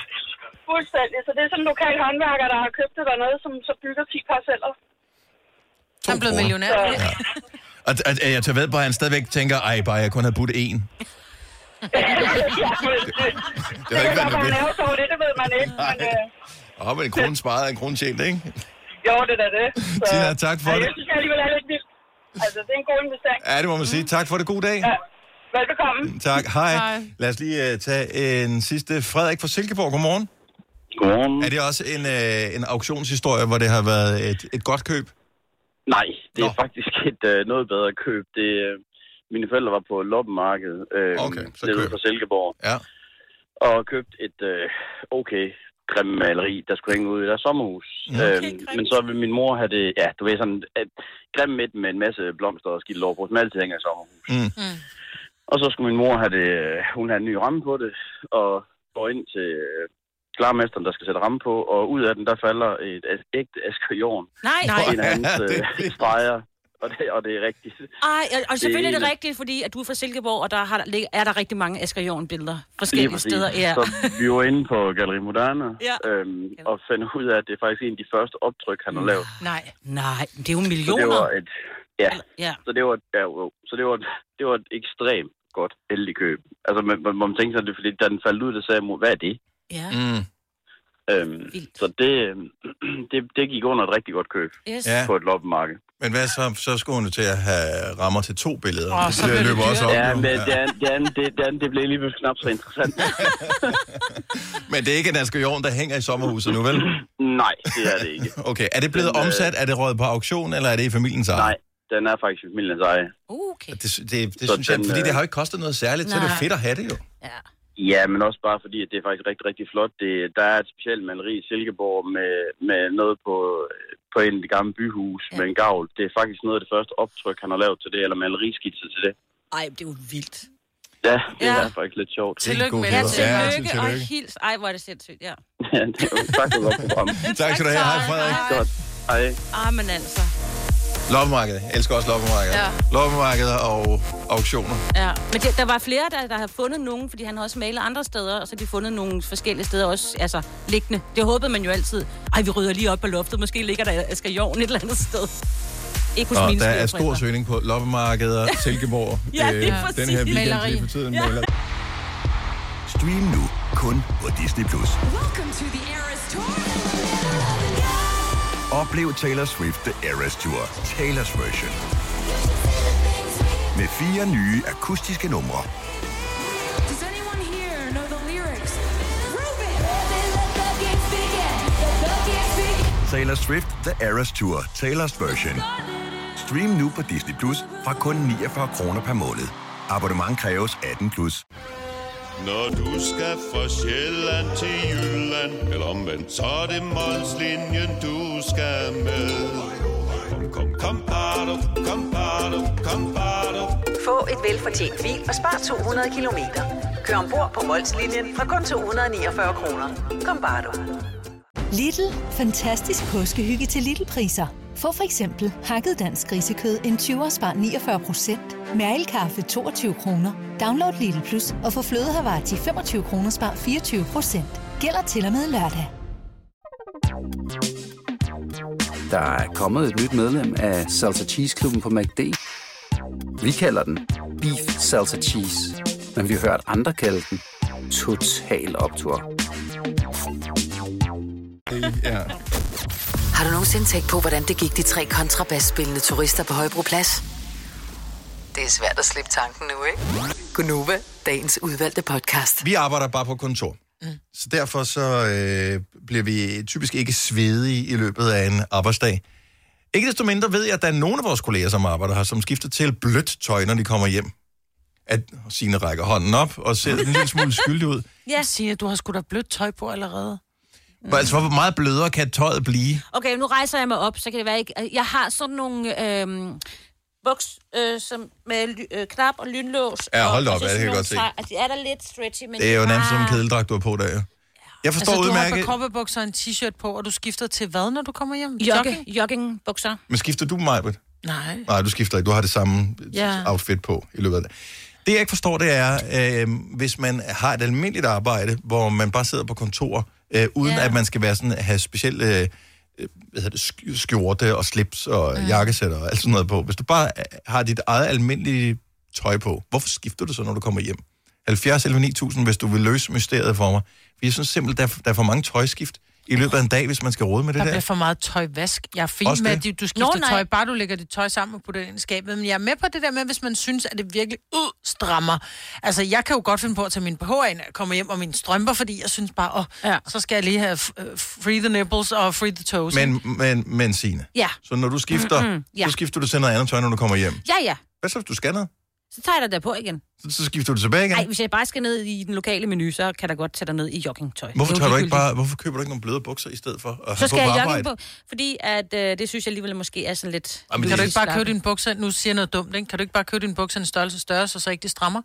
[SPEAKER 8] fuldstændig. Så det er sådan en lokal håndværker, der har købt det dernede, som så bygger 10 parceller.
[SPEAKER 1] To
[SPEAKER 3] Han blev
[SPEAKER 1] kroner.
[SPEAKER 3] millionær.
[SPEAKER 8] Så-
[SPEAKER 3] Ja.
[SPEAKER 1] Og at, at jeg tager ved på, at han stadigvæk tænker, ej, bare jeg kun havde budt én.
[SPEAKER 8] ja, men, det,
[SPEAKER 1] Det har
[SPEAKER 8] det
[SPEAKER 1] ikke
[SPEAKER 8] kan
[SPEAKER 1] været
[SPEAKER 8] man
[SPEAKER 1] nødvendigt.
[SPEAKER 8] lave sig over det, det ved man ikke. Men, øh,
[SPEAKER 1] Åh, men en krone sparet er en krone tjent, ikke?
[SPEAKER 8] jo, det er da det. Så,
[SPEAKER 1] Tina, tak for
[SPEAKER 8] Ej,
[SPEAKER 1] det.
[SPEAKER 8] Jeg synes jeg alligevel er lidt vildt. Altså, det er en god investering.
[SPEAKER 1] Ja, det må man sige. Tak for det. God dag.
[SPEAKER 8] Ja. Velbekomme.
[SPEAKER 1] Tak. Hej.
[SPEAKER 3] Hej.
[SPEAKER 1] Lad os lige uh, tage en sidste. Frederik fra Silkeborg, godmorgen.
[SPEAKER 5] Godmorgen.
[SPEAKER 1] Er det også en, uh, en auktionshistorie, hvor det har været et, et godt køb?
[SPEAKER 5] Nej, det er
[SPEAKER 1] Nå.
[SPEAKER 5] faktisk et øh, noget bedre køb. Det, øh, mine forældre var på loppemarkedet øh,
[SPEAKER 1] Okay, så
[SPEAKER 5] nede
[SPEAKER 1] køb.
[SPEAKER 5] fra Silkeborg
[SPEAKER 1] Ja.
[SPEAKER 5] og købte et øh, okay grimt maleri, der skulle hænge ud i deres sommerhus.
[SPEAKER 1] Okay,
[SPEAKER 5] øhm, men så ville min mor have det, ja, du ved sådan, et grimt midt med en masse blomster og skidt lovbrug, som altid hænger i sommerhus.
[SPEAKER 1] Mm.
[SPEAKER 3] Mm.
[SPEAKER 5] Og så skulle min mor have det, øh, hun havde en ny ramme på det, og går ind til øh, klarmesteren, der skal sætte ramme på, og ud af den, der falder et, et ægte asker jorden.
[SPEAKER 2] Nej.
[SPEAKER 3] Nej.
[SPEAKER 5] En af hans
[SPEAKER 1] Ja, det er
[SPEAKER 5] øh,
[SPEAKER 1] fint.
[SPEAKER 5] streger, og det, og det er rigtigt.
[SPEAKER 2] Ej, og, og selvfølgelig er det
[SPEAKER 5] Det-
[SPEAKER 2] rigtigt, fordi at du er fra Silkeborg, og der har, lig- er der rigtig mange Asger Jorn billeder
[SPEAKER 5] Lige
[SPEAKER 2] forskellige
[SPEAKER 5] præcis.
[SPEAKER 2] steder. Ja.
[SPEAKER 5] Så vi var inde på Galeri Moderne,
[SPEAKER 2] Ja.
[SPEAKER 5] øhm, og fandt ud af, at det er faktisk en af de første optryk, han har lavet.
[SPEAKER 3] Nej.
[SPEAKER 2] Nej, men det er jo
[SPEAKER 5] Så det
[SPEAKER 2] millioner.
[SPEAKER 5] var et, ja,
[SPEAKER 2] Ja.
[SPEAKER 5] så det var, ja, jo, så det var, det var et ekstremt godt heldig køb. Altså, man, man, man tænkte sig, det, er fordi da den faldt ud, der sagde jeg, mor, hvad er det?
[SPEAKER 2] ja.
[SPEAKER 1] Mm.
[SPEAKER 5] Øhm,
[SPEAKER 2] Vildt.
[SPEAKER 5] så det, øhm, det, det gik under et rigtig godt køb
[SPEAKER 2] Yes.
[SPEAKER 1] Ja.
[SPEAKER 2] ja.
[SPEAKER 5] på et loppemarked.
[SPEAKER 1] Men hvad så? Så skulle hun jo til at have rammer til to billeder.
[SPEAKER 3] Åh,
[SPEAKER 1] Det
[SPEAKER 3] så
[SPEAKER 1] bliver-
[SPEAKER 3] bliver det
[SPEAKER 1] løber
[SPEAKER 3] dyrt.
[SPEAKER 1] også op.
[SPEAKER 5] Ja,
[SPEAKER 1] nu.
[SPEAKER 5] men det, andet- det, andet- det, det, andet, det blev alligevel knap så interessant.
[SPEAKER 1] men det er ikke en Asger Jorn, der hænger i sommerhuset nu, vel?
[SPEAKER 5] Nej, det er det ikke.
[SPEAKER 1] Okay. Er det blevet
[SPEAKER 5] Den, øh,
[SPEAKER 1] omsat? Er det røget på auktion, eller er det i familiens eje?
[SPEAKER 5] Nej, den er faktisk familiens eje.
[SPEAKER 2] Okay.
[SPEAKER 1] Det, det, det
[SPEAKER 5] Så
[SPEAKER 1] synes jeg,
[SPEAKER 5] den,
[SPEAKER 1] fordi det
[SPEAKER 5] øh,
[SPEAKER 1] har jo ikke kostet noget særligt, så er det jo
[SPEAKER 2] Nej.
[SPEAKER 1] fedt at have det jo.
[SPEAKER 2] Ja.
[SPEAKER 5] Ja, men også bare fordi, at det er faktisk rigtig, rigtig flot. Det, der er et specielt maleri i Silkeborg med, med noget på, på en af de gamle byhus ja. med en gavl. Det er faktisk noget af det første optryk, han har lavet til det, eller maleriskitser til det.
[SPEAKER 2] Ej, det er jo vildt.
[SPEAKER 5] Ja, det
[SPEAKER 2] Ja.
[SPEAKER 5] ja. er faktisk lidt sjovt.
[SPEAKER 3] Tillykke med
[SPEAKER 1] Ja,
[SPEAKER 2] Ja,
[SPEAKER 3] det.
[SPEAKER 1] til-
[SPEAKER 3] Ja.
[SPEAKER 2] tillykke, og
[SPEAKER 1] tillykke.
[SPEAKER 2] hils. Ej, hvor er det sindssygt, ja.
[SPEAKER 5] Ja, det er jo tak for godt program.
[SPEAKER 1] Tak skal du have. Hej, Frederik.
[SPEAKER 5] Godt. Hej.
[SPEAKER 2] Ah, men altså.
[SPEAKER 1] Loppemarkedet. Jeg elsker også loppemarkedet. Ja.
[SPEAKER 3] Ja.
[SPEAKER 1] Loppemarkeder og auktioner.
[SPEAKER 2] Ja. Men det, der var flere, der, der har fundet nogen, fordi han har også malet andre steder, og så har de fundet nogle forskellige steder også, altså liggende. Det håbede man jo altid. Ej, vi rydder lige op på loftet. Måske ligger der øh, Asger Jorn et eller andet sted. Ikke hos
[SPEAKER 1] Og
[SPEAKER 2] mine
[SPEAKER 1] der er stor
[SPEAKER 2] svigerforældre.
[SPEAKER 1] søgning på loppemarkeder, Silkeborg,
[SPEAKER 2] Ja,
[SPEAKER 1] øh,
[SPEAKER 2] lige præcis.
[SPEAKER 1] den her weekend
[SPEAKER 3] Maleri.
[SPEAKER 1] lige for tiden. Ja.
[SPEAKER 9] Stream nu kun på Disney+. Plus.
[SPEAKER 10] Welcome to the Eras Tour.
[SPEAKER 9] Op Oplev Taylor Swift The Eras Tour, Taylor's version. Med fire nye akustiske numre.
[SPEAKER 10] Does anyone here know the lyrics?
[SPEAKER 9] Taylor Swift The Eras Tour, Taylor's version. Stream nu på Disney Plus fra kun 49 kroner per måned. Abonnement kræves 18 plus.
[SPEAKER 11] Når du skal fra Sjælland til Jylland Eller omvendt, så er det Molslinjen, du skal med Kom, kom, kom, bado, kom, bado, kom, bado.
[SPEAKER 12] Få et velfortjent bil og spar 200 kilometer. Kør ombord på Molslinjen fra kun 249 kroner. Kom bare du.
[SPEAKER 13] Lidl. Fantastisk påskehygge til Lidl-priser. Få for eksempel hakket dansk grisekød en 20 spar 49 procent, mærelkaffe 22 kroner. Download Lidl Plus og få flødehavar til 25 kroner spar 24 procent. Gælder til og med lørdag.
[SPEAKER 14] Der er kommet et nyt medlem af Salsa Cheese Klubben på MACD. Vi kalder den Beef Salsa Cheese, men vi har hørt andre kalde den Total Optor.
[SPEAKER 1] Ja.
[SPEAKER 6] Har du nogensinde tænkt på, hvordan det gik de tre kontrabasspillende turister på Højbroplads? Det er svært at slippe tanken nu, ikke? Gunova, dagens udvalgte podcast.
[SPEAKER 1] Vi arbejder bare på kontor. Mm. Så derfor så øh, bliver vi typisk ikke svedige i løbet af en arbejdsdag. Ikke desto mindre ved jeg, at der er nogle af vores kolleger, som arbejder her, som skifter til blødt tøj, når de kommer hjem. At sine rækker hånden op og ser en lille smule skyldig ud.
[SPEAKER 3] Ja. Signe, du har sgu da blødt tøj på allerede.
[SPEAKER 1] Mm. Altså, hvor meget blødere kan tøjet blive?
[SPEAKER 2] Okay, nu rejser jeg mig op, så kan det være ikke... Jeg har sådan nogle øhm, buks øh, som med ly- øh, knap og lynlås.
[SPEAKER 1] Ja, hold da
[SPEAKER 2] og-
[SPEAKER 1] op,
[SPEAKER 2] og så
[SPEAKER 1] ja,
[SPEAKER 2] sådan
[SPEAKER 1] det kan jeg
[SPEAKER 2] nogle
[SPEAKER 1] godt se.
[SPEAKER 2] træ- Altså, de er der lidt stretchy, men...
[SPEAKER 1] Det er jo
[SPEAKER 2] de
[SPEAKER 1] nærmest
[SPEAKER 2] har-
[SPEAKER 1] som en kedeldragt, du har på der, ja. Jeg forstår
[SPEAKER 3] altså, du har
[SPEAKER 1] udmærket.
[SPEAKER 3] kopperbukser og en t-shirt på, og du skifter til hvad, når du kommer hjem?
[SPEAKER 2] Jogge, joggingbukser.
[SPEAKER 1] Men skifter du, Majbet?
[SPEAKER 3] Nej.
[SPEAKER 1] Nej, du skifter ikke. Du har det samme
[SPEAKER 2] Ja.
[SPEAKER 1] ja. outfit på i løbet af det. Det, jeg ikke forstår, det er, øh, hvis man har et almindeligt arbejde, hvor man bare sidder på kontor, øh, uden ja. at man skal være sådan, have specielle øh, hvad hedder det, sk- skjorte og slips og ja. jakkesæt og alt sådan noget på. Hvis du bare øh, har dit eget almindelige tøj på, hvorfor skifter du så, når du kommer hjem? 70 eller 9000, hvis du vil løse mysteriet for mig. For jeg synes simpelthen, der er, der er for mange tøjskift i løbet af en dag, hvis man skal rode med det
[SPEAKER 3] Der
[SPEAKER 1] der.
[SPEAKER 3] bliver for meget tøjvask. Jeg er fin
[SPEAKER 1] Også
[SPEAKER 3] med,
[SPEAKER 1] det.
[SPEAKER 3] at du- du
[SPEAKER 1] Nå,
[SPEAKER 3] skifter Nå,
[SPEAKER 1] nej.
[SPEAKER 3] tøj, bare du lægger dit tøj sammen og putter det ind i skabet. Men jeg er med på det der med, hvis man synes, at det virkelig ud strammer. Altså, jeg kan jo godt finde på at tage mine BH'er ind og komme hjem og mine strømper, fordi jeg synes bare, åh, ja. så skal jeg lige have øh, free the nipples og free the toes.
[SPEAKER 1] Men, men, men Signe,
[SPEAKER 2] Ja.
[SPEAKER 1] så når du skifter,
[SPEAKER 2] Mm, mm,
[SPEAKER 1] mm-hmm,
[SPEAKER 2] ja.
[SPEAKER 1] ja. så skifter du til noget andet tøj, når du kommer hjem.
[SPEAKER 2] Ja, ja.
[SPEAKER 1] Hvad så, hvis du skal noget?
[SPEAKER 2] Så tager jeg dig der på igen.
[SPEAKER 1] Så, så skifter du tilbage igen?
[SPEAKER 2] Nej, hvis jeg bare skal ned i den lokale menu, så kan der godt tage dig ned i joggingtøj.
[SPEAKER 1] Hvorfor,
[SPEAKER 2] Det er
[SPEAKER 1] tager
[SPEAKER 2] jo
[SPEAKER 1] du ikke
[SPEAKER 2] ligegyldigt.
[SPEAKER 1] bare, hvorfor køber du ikke nogle bløde bukser i stedet for at have
[SPEAKER 2] Så skal
[SPEAKER 1] på
[SPEAKER 2] jeg
[SPEAKER 1] på
[SPEAKER 2] jogging
[SPEAKER 1] arbejde?
[SPEAKER 2] på, fordi at, øh, det synes jeg alligevel måske er sådan lidt...
[SPEAKER 1] Jamen,
[SPEAKER 3] Men kan du
[SPEAKER 1] det-
[SPEAKER 3] ikke bare købe dine bukser, nu siger jeg noget dumt, ikke? Kan du ikke bare købe dine bukser en størrelse større, så, så ikke det strammer?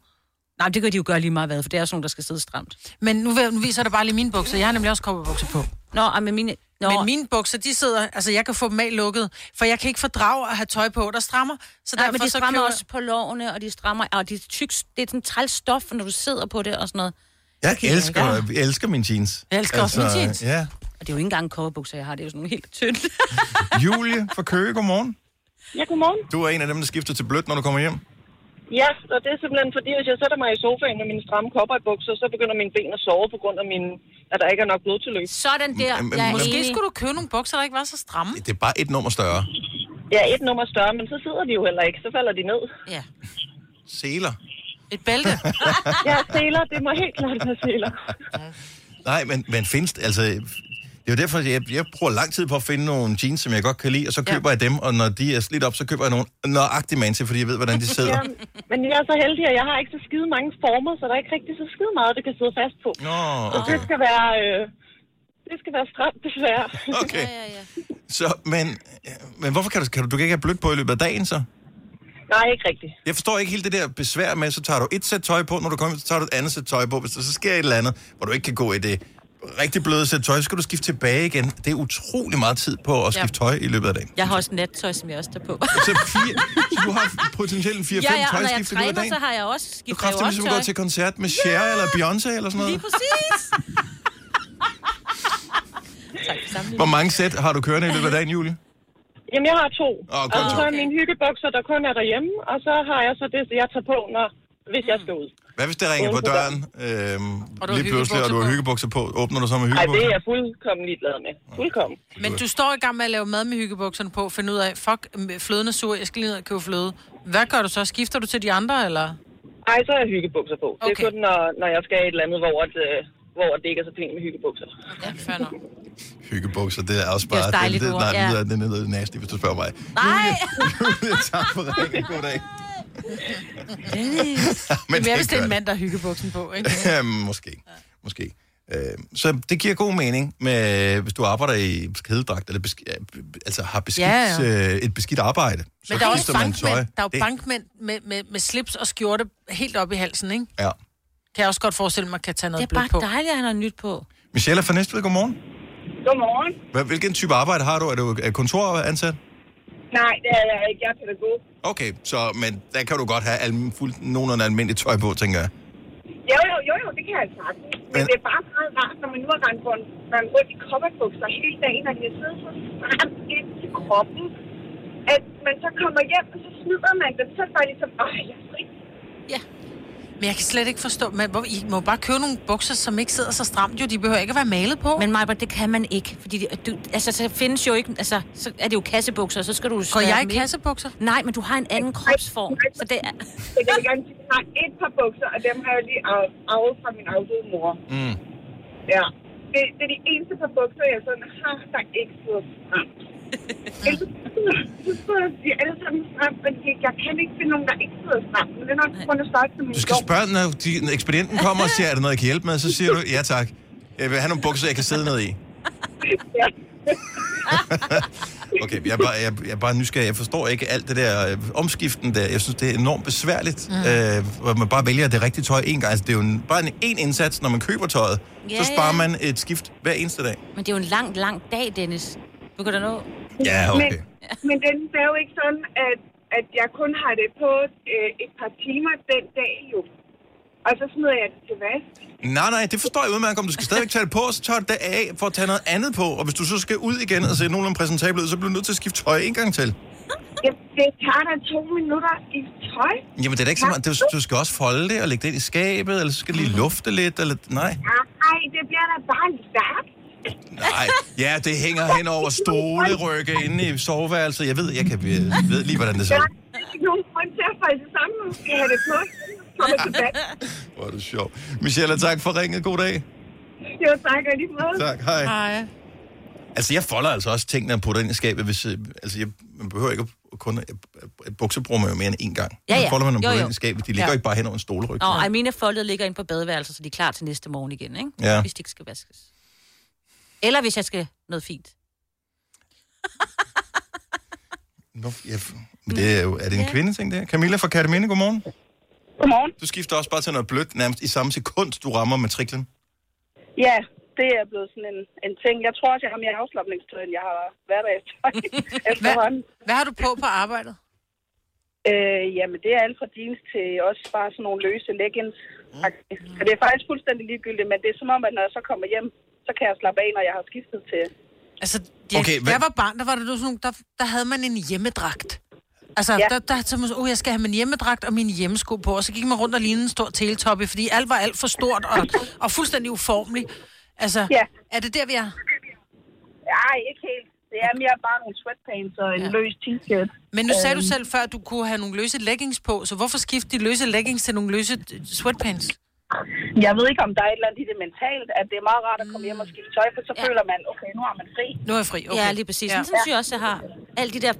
[SPEAKER 2] Nej, men det kan de jo gøre lige meget hvad, for det er også nogen, der skal sidde stramt.
[SPEAKER 3] Men nu, vil- nu viser der bare lige mine bukser. Jeg har nemlig også kopperbukser på.
[SPEAKER 2] Nå, ej, men mine... Nå.
[SPEAKER 3] Men mine bukser, de sidder... Altså, jeg kan få dem af lukket, for jeg kan ikke fordrage at have tøj på, der strammer. Så
[SPEAKER 2] Så
[SPEAKER 3] derfor
[SPEAKER 2] Nej, men de
[SPEAKER 3] så
[SPEAKER 2] strammer
[SPEAKER 3] køber-
[SPEAKER 2] også på lårene, og de strammer... Og de er tyk, det er sådan træls stof, når du sidder på det og sådan noget.
[SPEAKER 1] Jeg
[SPEAKER 2] kan jeg
[SPEAKER 1] elsker,
[SPEAKER 2] ikke.
[SPEAKER 1] jeg elsker mine jeans.
[SPEAKER 2] Jeg elsker altså, også mine jeans.
[SPEAKER 1] Ja.
[SPEAKER 2] Og det er jo ikke engang coverbukser, jeg har. Det er jo sådan nogle helt tynde.
[SPEAKER 1] Julie fra Køge, godmorgen.
[SPEAKER 15] Ja, godmorgen.
[SPEAKER 1] Du er en af dem, der skifter til blødt, når du kommer hjem.
[SPEAKER 15] Ja, og det er simpelthen fordi, hvis jeg sætter mig i sofaen med mine stramme kopperbukser, så begynder mine ben at sove på grund af, mine, at der ikke er nok blodtilløb.
[SPEAKER 2] Sådan der.
[SPEAKER 1] Mm, mm, Jeg er
[SPEAKER 3] Måske
[SPEAKER 1] enig.
[SPEAKER 3] skulle du købe nogle bukser, der ikke var så stramme.
[SPEAKER 1] Det er bare et nummer større.
[SPEAKER 15] Ja, et nummer større, men så sidder de jo heller ikke. Så falder de ned.
[SPEAKER 2] Ja.
[SPEAKER 1] Seler.
[SPEAKER 3] Et bælte.
[SPEAKER 15] ja, seler. Det må helt klart være seler.
[SPEAKER 1] Nej, men, men findes det- altså... Det er jo derfor, jeg, jeg bruger lang tid på at finde nogle jeans, som jeg godt kan lide, og så køber ja. jeg dem, og når de er slidt op, så køber jeg nogle nøjagtige man til, fordi jeg ved, hvordan de sidder.
[SPEAKER 15] Ja, men jeg er så heldig, at jeg har ikke så skide mange former, så der er ikke rigtig så skide meget, det kan sidde fast på.
[SPEAKER 1] Nå,
[SPEAKER 15] Så
[SPEAKER 1] okay.
[SPEAKER 15] det skal være... Øh, det skal være stramt, desværre.
[SPEAKER 1] Okay. Ja, Så, men, men hvorfor kan du, kan du, du kan ikke have blødt på i løbet af dagen, så?
[SPEAKER 15] Nej, ikke rigtigt.
[SPEAKER 1] Jeg forstår ikke helt det der besvær med, så tager du et sæt tøj på, når du kommer, hjem, så tager du et andet sæt tøj på. Hvis der så sker et eller andet, hvor du ikke kan gå i det rigtig bløde sæt tøj, så skal du skifte tilbage igen. Det er utrolig meget tid på at
[SPEAKER 2] Ja.
[SPEAKER 1] skifte tøj i løbet af dagen.
[SPEAKER 2] Jeg har også nattøj, som jeg også tager på.
[SPEAKER 1] Så, fire, så du har potentielt en 4-5
[SPEAKER 2] ja, ja, og når jeg
[SPEAKER 1] tøjskifte i løbet af
[SPEAKER 2] træner,
[SPEAKER 1] dagen.
[SPEAKER 2] så har jeg også
[SPEAKER 1] Du
[SPEAKER 2] skiftet
[SPEAKER 1] kræfter ligesom at gå til koncert med Cher eller Beyoncé eller sådan
[SPEAKER 2] Lige
[SPEAKER 1] noget.
[SPEAKER 2] præcis.
[SPEAKER 15] Tak,
[SPEAKER 1] Hvor mange sæt har du kørende i løbet af dagen, Julie?
[SPEAKER 15] Jamen, jeg har to.
[SPEAKER 1] Åh,
[SPEAKER 15] og
[SPEAKER 1] kun
[SPEAKER 15] så
[SPEAKER 1] to.
[SPEAKER 15] er mine hyggebukser, der kun er derhjemme, og så har jeg så det, jeg tager på, når, hvis jeg skal ud.
[SPEAKER 1] Hvad hvis det ringer på døren øhm, lige pludselig, og du har hyggebukser på? Åbner du så med
[SPEAKER 15] Nej, det
[SPEAKER 1] hyggebukser?
[SPEAKER 15] er jeg fuldkommen ligeglad med. Fuldkommen.
[SPEAKER 3] Men du står i gang med at lave mad med hyggebukserne på, finde ud af, fuck, m- fløden er sur, jeg skal lige ned og købe fløde. Hvad gør du så? Skifter du til de andre, eller?
[SPEAKER 15] Ej, så har jeg hyggebukser på. Okay. Det er kun, når, når jeg skal et eller andet, hvor, at, øh, hvor det ikke er så pænt med hyggebukser.
[SPEAKER 3] Ja, fair nok.
[SPEAKER 1] Hyggebukser, det er også
[SPEAKER 15] Det er
[SPEAKER 1] bare...
[SPEAKER 15] også dejligt
[SPEAKER 1] det, det,
[SPEAKER 15] ord,
[SPEAKER 1] nej,
[SPEAKER 15] ja.
[SPEAKER 1] det, er- det er noget nasty, hvis du spørger mig.
[SPEAKER 3] Nej!
[SPEAKER 1] Julie, tak for ringen. God dag.
[SPEAKER 3] Men det er
[SPEAKER 1] det
[SPEAKER 3] mere, hvis det er
[SPEAKER 1] gør
[SPEAKER 3] en mand, der har hyggebuksen på, ikke?
[SPEAKER 1] Øhm, Måske. Måske. Øhm, Så det giver god mening, med, hvis du arbejder i kædedragt, eller besk- ja, b- altså har beskidt,
[SPEAKER 3] Ja,
[SPEAKER 1] ja,
[SPEAKER 3] ja.
[SPEAKER 1] ja. Øh, et beskidt arbejde. Så
[SPEAKER 3] Men der er også
[SPEAKER 1] skifter man tøj.
[SPEAKER 3] bankmænd, der er jo
[SPEAKER 1] Det-
[SPEAKER 3] bankmænd med, med, med slips og skjorte helt op i halsen, ikke?
[SPEAKER 1] Ja.
[SPEAKER 3] Kan jeg også godt forestille mig, kan tage noget
[SPEAKER 2] Det er
[SPEAKER 3] blødt på.
[SPEAKER 2] bare dejligt, at han har nyt på.
[SPEAKER 1] Michelle er fra Næstved, godmorgen.
[SPEAKER 15] Godmorgen.
[SPEAKER 1] Hvad- Hvilken type arbejde har du? Er du øh, kontoransat?
[SPEAKER 15] Nej, det er jeg ikke. Jeg er pædagog.
[SPEAKER 1] Okay, så, men der kan du godt have al, fuld, nogenlunde almindeligt tøj på, tænker jeg.
[SPEAKER 15] Jo, jo, jo, jo, det kan jeg sagtens. Men det er bare meget rart, når man nu har rendt rundt, rendt rundt i kopperbukser hele dagen, og de har siddet så stramt ind til kroppen, at man så kommer hjem, og så smider man dem, så er det bare ligesom, ej, jeg er fri.
[SPEAKER 3] Men jeg kan slet ikke forstå, men hvor, I må bare købe nogle bukser, som ikke sidder så stramt jo. De behøver ikke at være malet på.
[SPEAKER 2] Men Majbert, det kan man ikke, fordi det- du, altså, så findes jo ikke, altså, så er det jo kassebukser, så skal du...
[SPEAKER 3] Går jeg i kassebukser?
[SPEAKER 2] Nej, men du har en anden kropsform, så det er...
[SPEAKER 15] Så jeg vil gerne sige, at jeg har et par bukser, og dem har jeg lige arvet- arvet fra min afdøde mor.
[SPEAKER 1] Mm.
[SPEAKER 15] Ja. Det, det er de eneste par bukser, jeg sådan har, der ikke sidder stramt. Ellers så sidder de alle sammen stramt, men de- jeg kan ikke finde nogen, der ikke sidder stramt. Men det er nok på grund af størrelse med min
[SPEAKER 1] Du skal
[SPEAKER 15] lår.
[SPEAKER 1] spørge, når de, når ekspedienten kommer og siger, er der noget, jeg kan hjælpe med? Så siger du, ja tak. Jeg vil have nogle bukser, jeg kan sidde ned i.
[SPEAKER 15] Ja.
[SPEAKER 1] Okay, jeg er, bare, jeg, jeg er bare nysgerrig. Jeg forstår ikke alt det der øh, omskiften der. Jeg synes, det er enormt besværligt,
[SPEAKER 2] Mm.
[SPEAKER 1] mm. øh, hvor man bare vælger det rigtige tøj en gang. Altså, det er jo en, bare en, en indsats, når man køber tøjet.
[SPEAKER 2] Ja,
[SPEAKER 1] så sparer
[SPEAKER 2] ja.
[SPEAKER 1] man et skift hver eneste dag.
[SPEAKER 2] Men det er jo en lang, lang dag, Dennis. Du kan da nå...
[SPEAKER 1] Ja, okay.
[SPEAKER 15] Men, men den er jo ikke sådan, at, at jeg kun har det på øh, et par timer den dag jo. Og så smider jeg det til vask.
[SPEAKER 1] Nej, nej, det forstår jeg udmærket. Om du skal stadigvæk tage det på, så tager du det af for at tage noget andet på. Og hvis du så skal ud igen og se nogenlunde præsentabel ud, så bliver du nødt til at skifte tøj en gang til.
[SPEAKER 15] Det, det tager da to minutter i tøj.
[SPEAKER 1] Jamen, det er da ikke så meget. Du, du skal også folde det og lægge det ind i skabet, eller så skal det lige lufte lidt, eller... Nej,
[SPEAKER 15] Nej, det bliver da bare lagt.
[SPEAKER 1] nej. Ja, det hænger hen over stolerygge inde i soveværelset. Jeg ved, jeg kan jeg ved lige, hvordan det ser
[SPEAKER 15] Der
[SPEAKER 1] ud.
[SPEAKER 15] er ikke nogen grund til at falde det sammen, når man skal have det på. Kommer tilbage.
[SPEAKER 1] Hvor er det sjovt. Michelle, tak for ringet. God dag.
[SPEAKER 15] Jo, tak og lige måde.
[SPEAKER 1] Tak, hej.
[SPEAKER 3] Hej.
[SPEAKER 1] Altså, jeg folder altså også tingene og putter ind i skabet, hvis... øh, Altså, jeg, man behøver ikke at kun... at- Bukser bruger man jo mere end én gang.
[SPEAKER 2] Ja, ja.
[SPEAKER 1] Så folder man dem
[SPEAKER 2] Jo,
[SPEAKER 1] putter
[SPEAKER 2] jo.
[SPEAKER 1] ind i skabet. De ligger
[SPEAKER 2] Ja.
[SPEAKER 1] ikke bare hen over en stoleryg.
[SPEAKER 2] Nå, ej, mine foldet ligger inde på badeværelset, så de er klar til næste morgen igen, ikke?
[SPEAKER 1] Ja.
[SPEAKER 2] Hvis de ikke skal vaskes. Eller hvis jeg skal noget fint.
[SPEAKER 1] Nå, ja, men det er, jo, er det en ja. kvinde ting, det her? Camilla fra Kataminde, godmorgen.
[SPEAKER 16] Godmorgen.
[SPEAKER 1] Du skifter også bare til noget blødt, nærmest i samme sekund, du rammer matriklen.
[SPEAKER 16] Ja, det er blevet sådan en, en ting. Jeg tror også, jeg har mere afslappningstøj, end jeg har hverdagstøj efterhånden.
[SPEAKER 3] Hvad, hvad har du på på arbejdet?
[SPEAKER 16] Øh, jamen, det er alt fra jeans til også bare sådan nogle løse leggings. Mm. Og det er faktisk fuldstændig ligegyldigt, men det er som om, at når jeg så kommer hjem, så kan jeg slappe af, når jeg har skiftet til...
[SPEAKER 3] Altså, Jeg, okay, jeg var barn, der var der, sådan nogle, der, der havde man en hjemmedragt. Altså, ja. der, der tænkte man, så, oh, jeg skal have min hjemmedragt og mine hjemmesko på, og så gik man rundt og lignede en stor teletoppe, fordi alt var alt for stort og, og fuldstændig uformelig. Altså, ja. er det der, vi er?
[SPEAKER 16] Nej, ikke helt. Det er mere bare nogle sweatpants og en ja. løs t-shirt.
[SPEAKER 3] Men nu sagde du
[SPEAKER 16] Øhm,
[SPEAKER 3] selv før, at du kunne have nogle løse leggings på, så hvorfor skifte de løse leggings til nogle løse øh, sweatpants?
[SPEAKER 16] Jeg ved ikke, om der er et eller andet i det mentalt, at det er meget rart at komme hjem og skifte tøj, for så ja. føler man, okay, nu har man fri.
[SPEAKER 3] Nu er jeg fri, okay.
[SPEAKER 2] Ja, lige præcis. Ja. Sådan synes jeg også, jeg har alle de der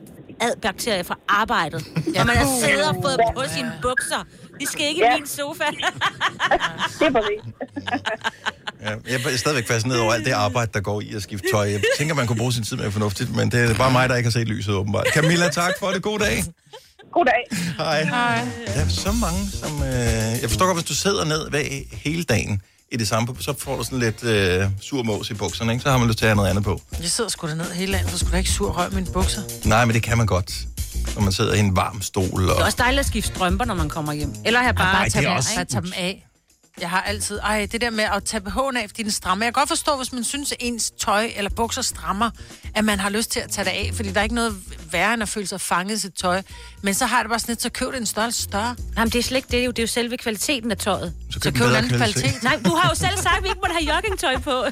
[SPEAKER 2] adbakterier fra arbejdet. Ja. Når man har siddet og fået på sine bukser. De skal ikke ja. i min sofa.
[SPEAKER 16] det er præcis.
[SPEAKER 1] Ja, jeg er stadigvæk fascineret over alt det arbejde, der går i at skifte tøj. Jeg tænker, man kunne bruge sin tid mere fornuftigt, men det er bare mig, der ikke har set lyset åbenbart. Camilla, tak for det. God dag.
[SPEAKER 16] Goddag.
[SPEAKER 1] Hej. Der er så mange, som... Øh, jeg forstår godt, hvis du sidder ned hver, hele dagen i det samme, så får du sådan lidt øh, sur mås i bukserne, ikke? Så har man lyst til at have noget andet på.
[SPEAKER 3] Jeg sidder sgu da ned hele dagen, for skulle da ikke sur røv i mine bukser.
[SPEAKER 1] Nej, men det kan man godt, når man sidder i en varm stol. Og...
[SPEAKER 2] Det er også dejligt at skifte strømper, når man kommer hjem. Eller have bare,
[SPEAKER 1] Ej, det er
[SPEAKER 2] tage, dem,
[SPEAKER 1] også-
[SPEAKER 2] af, ikke? bare tage dem af.
[SPEAKER 3] Jeg har altid... Ej, det der med at tage BH'en af, fordi den strammer. Jeg kan godt forstå, hvis man synes, at ens tøj eller bukser strammer, at man har lyst til at tage det af, fordi der er ikke noget værre end at føle sig fanget i sit tøj. Men så har jeg det bare sådan lidt, så køb det en størrelse større.
[SPEAKER 2] Jamen, det er slet ikke det. Det er jo, det er jo selve kvaliteten af tøjet.
[SPEAKER 3] Så køb en anden kvalitet.
[SPEAKER 2] Nej, du har jo selv sagt, at vi ikke måtte have joggingtøj på.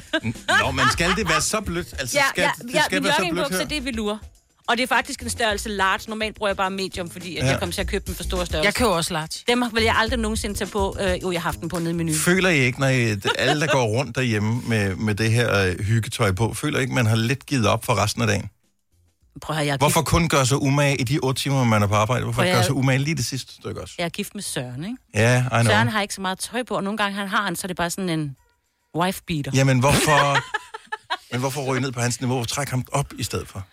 [SPEAKER 1] Nå, men skal det være så blødt? Altså,
[SPEAKER 2] ja,
[SPEAKER 1] skal,
[SPEAKER 2] ja,
[SPEAKER 1] det
[SPEAKER 2] ja,
[SPEAKER 1] skal
[SPEAKER 2] min
[SPEAKER 1] være så blødt
[SPEAKER 2] joggingbukser,
[SPEAKER 1] her?
[SPEAKER 2] det er velur. Og det er faktisk en størrelse large. Normalt bruger jeg bare medium, fordi at
[SPEAKER 1] Ja.
[SPEAKER 2] jeg kommer til at købe den for store størrelse.
[SPEAKER 3] Jeg køber også large.
[SPEAKER 2] Dem vil jeg aldrig nogensinde tage på. Øh, jo, jeg har haft den på nede i menuen.
[SPEAKER 1] Føler I ikke, når I, alle, der går rundt derhjemme med, med det her øh, hyggetøj på, føler I ikke, man har lidt givet op for resten af dagen?
[SPEAKER 2] Prøv at høre, jeg er
[SPEAKER 1] Hvorfor
[SPEAKER 2] gift,
[SPEAKER 1] kun gøre sig umage i de otte timer, man er på arbejde? Hvorfor
[SPEAKER 2] Prøv
[SPEAKER 1] ikke
[SPEAKER 2] at-
[SPEAKER 1] gøre sig umage lige det sidste stykke også?
[SPEAKER 2] jeg er gift med Søren, ikke?
[SPEAKER 1] Ja, I know.
[SPEAKER 2] Søren har ikke så meget tøj på, og nogle gange han har han, så er det bare sådan en wife beater.
[SPEAKER 1] Jamen, hvorfor... men hvorfor ryge ned på hans niveau? Træk ham op i stedet for.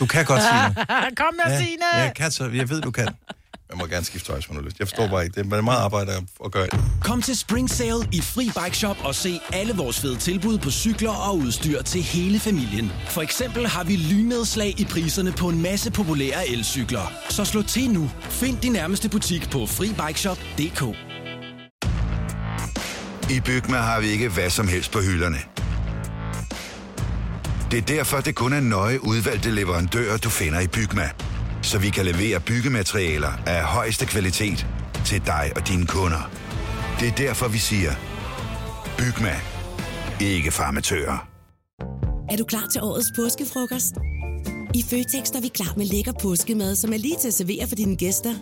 [SPEAKER 1] Du kan godt, Signe.
[SPEAKER 3] Kom med, Signe!
[SPEAKER 1] Ja, jeg, kan, så jeg ved, du kan. Man må gerne skifte tøj, hvis man har lyst. Jeg forstår ja. bare ikke. Det er meget arbejde at- at gøre det.
[SPEAKER 17] Kom til Spring Sale i Fri Bike Shop og se alle vores fede tilbud på cykler og udstyr til hele familien. For eksempel har vi lynedslag i priserne på en masse populære elcykler. Så slå til nu. Find din nærmeste butik på FriBikeShop.dk
[SPEAKER 9] I Bygma har vi ikke hvad som helst på hylderne. Det er derfor, det kun er nøje udvalgte leverandører, du finder i Bygma. Så vi kan levere byggematerialer af højeste kvalitet til dig og dine kunder. Det er derfor, vi siger, Bygma. Ikke farmatører.
[SPEAKER 18] Er du klar til årets påskefrokost? I Føtex er vi klar med lækker påskemad, som er lige til at servere for dine gæster.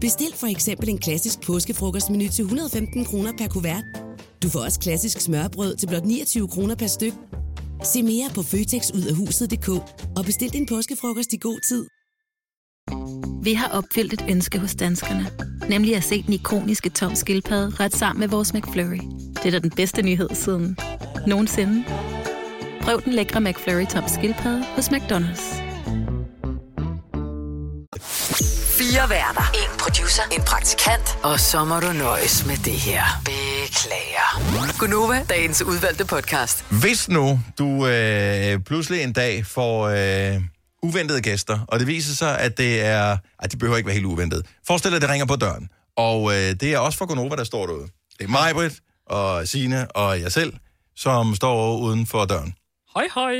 [SPEAKER 18] Bestil for eksempel en klassisk påskefrokostmenu til 115 kroner per kuvert. Du får også klassisk smørbrød til blot 29 kroner per styk. Se mere på føtexudafhuset.dk og bestil din påskefrokost i god tid.
[SPEAKER 19] Vi har opfyldt et ønske hos danskerne. Nemlig at se den ikoniske tom skildpadde ret sammen med vores McFlurry. Det er da den bedste nyhed siden nogensinde. Prøv den lækre McFlurry tom skildpadde hos McDonald's.
[SPEAKER 6] Fire værter. En producer. En praktikant. Og så må du nøjes med det her. Beklager. Gunova, dagens udvalgte podcast.
[SPEAKER 1] Hvis nu du øh, pludselig en dag får øh, uventede gæster, og det viser sig, at det er... Ej, de behøver ikke være helt uventede. Forestil dig, at det ringer på døren. Og øh, det er også for Gonova, der står derude. Det er mig, Britt, og Sine og jeg selv, som står uden for døren.
[SPEAKER 2] Hej, hej.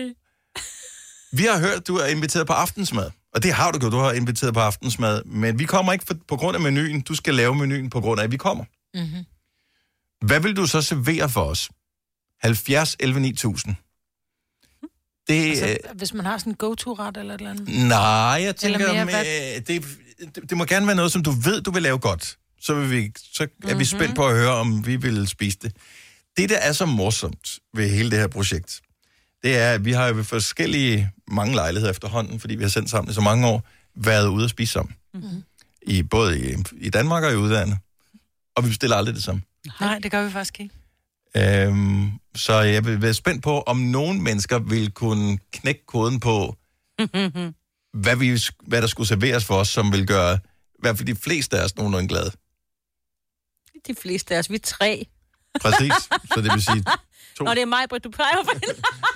[SPEAKER 1] Vi har hørt, at du er inviteret på aftensmad. Og det har du gjort, du har inviteret på aftensmad. Men vi kommer ikke for, på grund af menuen. Du skal lave menuen på grund af, at vi kommer.
[SPEAKER 3] Mm-hmm.
[SPEAKER 1] Hvad vil du så servere for os? 70 11 9000. Det, altså,
[SPEAKER 3] Altså, hvis man har sådan en go-to-ret eller et eller andet.
[SPEAKER 1] Nej, jeg
[SPEAKER 3] Eller
[SPEAKER 1] tænker,
[SPEAKER 3] mere,
[SPEAKER 1] mere,
[SPEAKER 3] hvad-
[SPEAKER 1] det, det, det må gerne være noget, som du ved, du vil lave godt. Så, vil vi, så er mm-hmm.
[SPEAKER 3] Mhm.
[SPEAKER 1] vi spændt på at høre, om vi vil spise det. Det, der er så morsomt ved hele det her projekt, det er, at vi har jo ved forskellige mange lejligheder efterhånden, fordi vi har sendt sammen i så mange år, været ude at spise sammen.
[SPEAKER 3] Mhm.
[SPEAKER 1] Mm-hmm. I, både i, i Danmark og i udlandet. Og vi bestiller aldrig det samme.
[SPEAKER 3] Nej, det gør vi faktisk ikke.
[SPEAKER 1] Øhm, så jeg vil være spændt på, om nogle mennesker vil kunne knække koden på, hvad, vi, hvad der skulle serveres for os, som vil gøre i hvert fald de fleste af os nogenlunde glade.
[SPEAKER 2] De fleste af os, vi er tre.
[SPEAKER 1] Præcis. Så det vil sige... To.
[SPEAKER 2] Nå, det er mig, Britt, du peger på.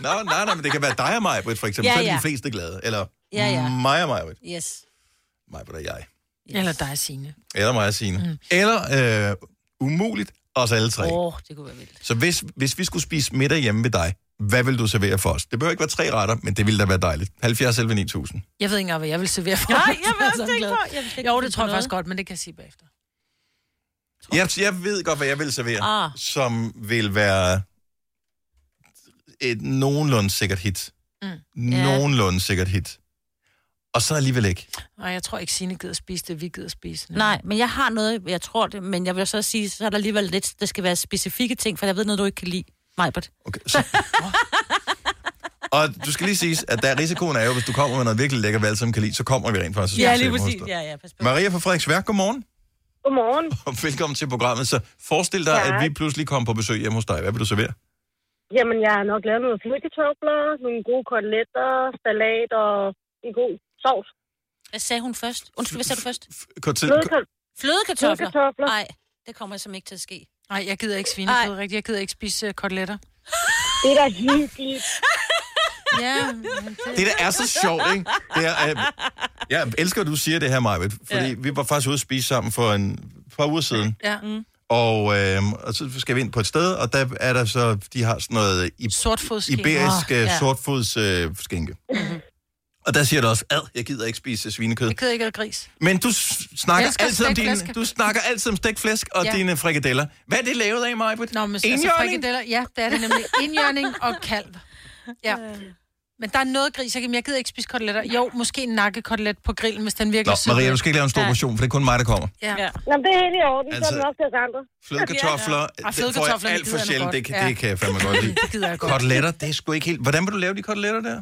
[SPEAKER 1] Nå, nej, nej, men det kan være dig og mig, Britt, for eksempel.
[SPEAKER 2] Ja,
[SPEAKER 1] Ja, ja. Så er
[SPEAKER 2] ja.
[SPEAKER 1] de fleste glade. Eller
[SPEAKER 2] Ja, ja.
[SPEAKER 1] mig og mig, Britt.
[SPEAKER 2] Yes.
[SPEAKER 1] Mig, Britt og jeg.
[SPEAKER 3] Yes. Eller dig, Signe.
[SPEAKER 1] Eller mig og Signe. Mm. Eller øh, umuligt, os alle tre.
[SPEAKER 2] Åh, oh, det kunne være vildt.
[SPEAKER 1] Så hvis, hvis vi skulle spise middag hjemme ved dig, hvad vil du servere for os? Det behøver ikke være tre retter, men det ville da være dejligt. 70 11 9000.
[SPEAKER 3] Jeg ved ikke engang, hvad jeg vil servere for.
[SPEAKER 2] Nej, jeg
[SPEAKER 3] Jeg er
[SPEAKER 2] ved også
[SPEAKER 3] så
[SPEAKER 2] det ikke,
[SPEAKER 3] glad.
[SPEAKER 2] hvor- jeg vil ikke
[SPEAKER 3] Jo,
[SPEAKER 2] finde
[SPEAKER 3] det
[SPEAKER 2] på
[SPEAKER 3] tror jeg faktisk
[SPEAKER 2] noget.
[SPEAKER 3] godt, men det kan jeg sige bagefter.
[SPEAKER 1] Jeg, jeg ved godt, hvad jeg vil servere,
[SPEAKER 3] Ah.
[SPEAKER 1] ah. som vil være et nogenlunde sikkert hit.
[SPEAKER 3] Mm.
[SPEAKER 1] Nogenlunde sikkert hit. Og så alligevel ikke.
[SPEAKER 3] Nej, jeg tror ikke, Signe gider spise det, vi gider spise. det.
[SPEAKER 2] Nej, men jeg har noget, jeg tror det, men jeg vil så sige, så er der alligevel lidt, der skal være specifikke ting, for jeg ved noget, du ikke kan lide. Majbert.
[SPEAKER 1] Okay, så... Og du skal lige sige, at der risikoen er jo, hvis du kommer med noget virkelig lækker, vi alle sammen kan lide, så kommer vi rent faktisk. og
[SPEAKER 2] Ja,
[SPEAKER 1] spiser
[SPEAKER 2] lige
[SPEAKER 1] hjemme hos
[SPEAKER 2] præcis.
[SPEAKER 1] dig.
[SPEAKER 2] Ja, ja, pas på.
[SPEAKER 1] Maria fra Frederiksværk, godmorgen.
[SPEAKER 20] Godmorgen.
[SPEAKER 1] Og velkommen til programmet. Så forestil dig,
[SPEAKER 20] Tak.
[SPEAKER 1] at vi pludselig kommer på besøg hjemme hos dig. Hvad vil du servere?
[SPEAKER 20] Jamen, jeg har nok lavet nogle flødekartofler, nogle gode koteletter, salat og en god sovs.
[SPEAKER 2] Hvad sagde hun først? Undskyld, hvad sagde du først?
[SPEAKER 1] Kortil...
[SPEAKER 2] Flødekartofler?
[SPEAKER 20] Flødekartofler.
[SPEAKER 2] Nej, det kommer simpelthen ikke til at ske.
[SPEAKER 3] Nej, jeg gider ikke svinekød rigtigt. Jeg gider ikke spise uh, koteletter.
[SPEAKER 20] Det er da hyggeligt.
[SPEAKER 3] ja.
[SPEAKER 1] Det, der er så sjovt, ikke? Det er, øh, jeg elsker, at du siger det her, Maja, fordi ja. vi var faktisk ude at spise sammen for en par uger siden.
[SPEAKER 3] Ja. Mm.
[SPEAKER 1] Og, øh, og så skal vi ind på et sted, og der er der så, de har sådan noget i,
[SPEAKER 3] Sortfodsskænke.
[SPEAKER 1] iberisk
[SPEAKER 3] Åh, ja.
[SPEAKER 1] oh, ja. sortfodsskænke. Øh, skænke. og der siger du også, ad, jeg gider ikke spise svinekød.
[SPEAKER 3] Jeg gider ikke have gris.
[SPEAKER 1] Men du s- snakker
[SPEAKER 3] elsker
[SPEAKER 1] altid om
[SPEAKER 3] stegt
[SPEAKER 1] dine,
[SPEAKER 3] flæsk.
[SPEAKER 1] du snakker altid om stegt flæsk og
[SPEAKER 3] Ja.
[SPEAKER 1] ja. dine frikadeller. Hvad er det lavet af, Majbet?
[SPEAKER 3] Nå, men altså, frikadeller, ja, det er det nemlig. Indjørning og kalv. Ja. Men der er noget gris, jeg, kan- men jeg gider ikke spise koteletter. Jo, måske en nakkekotelet på grillen, hvis den virkelig
[SPEAKER 1] Nå,
[SPEAKER 3] sidder.
[SPEAKER 1] Maria, du skal ikke lave en stor portion, for det er kun mig, der kommer.
[SPEAKER 3] Ja. ja.
[SPEAKER 20] Nå, men det er helt i orden, altså, så
[SPEAKER 1] Altså,
[SPEAKER 20] er det nok til os andre.
[SPEAKER 1] Flødekartofler,
[SPEAKER 20] Ja.
[SPEAKER 2] Ah,
[SPEAKER 1] ja. det får jeg alt for sjældent, det, det kan jeg fandme godt lide.
[SPEAKER 20] Det gider jeg godt.
[SPEAKER 1] Koteletter, det er sgu ikke helt... Hvordan vil du lave de koteletter der?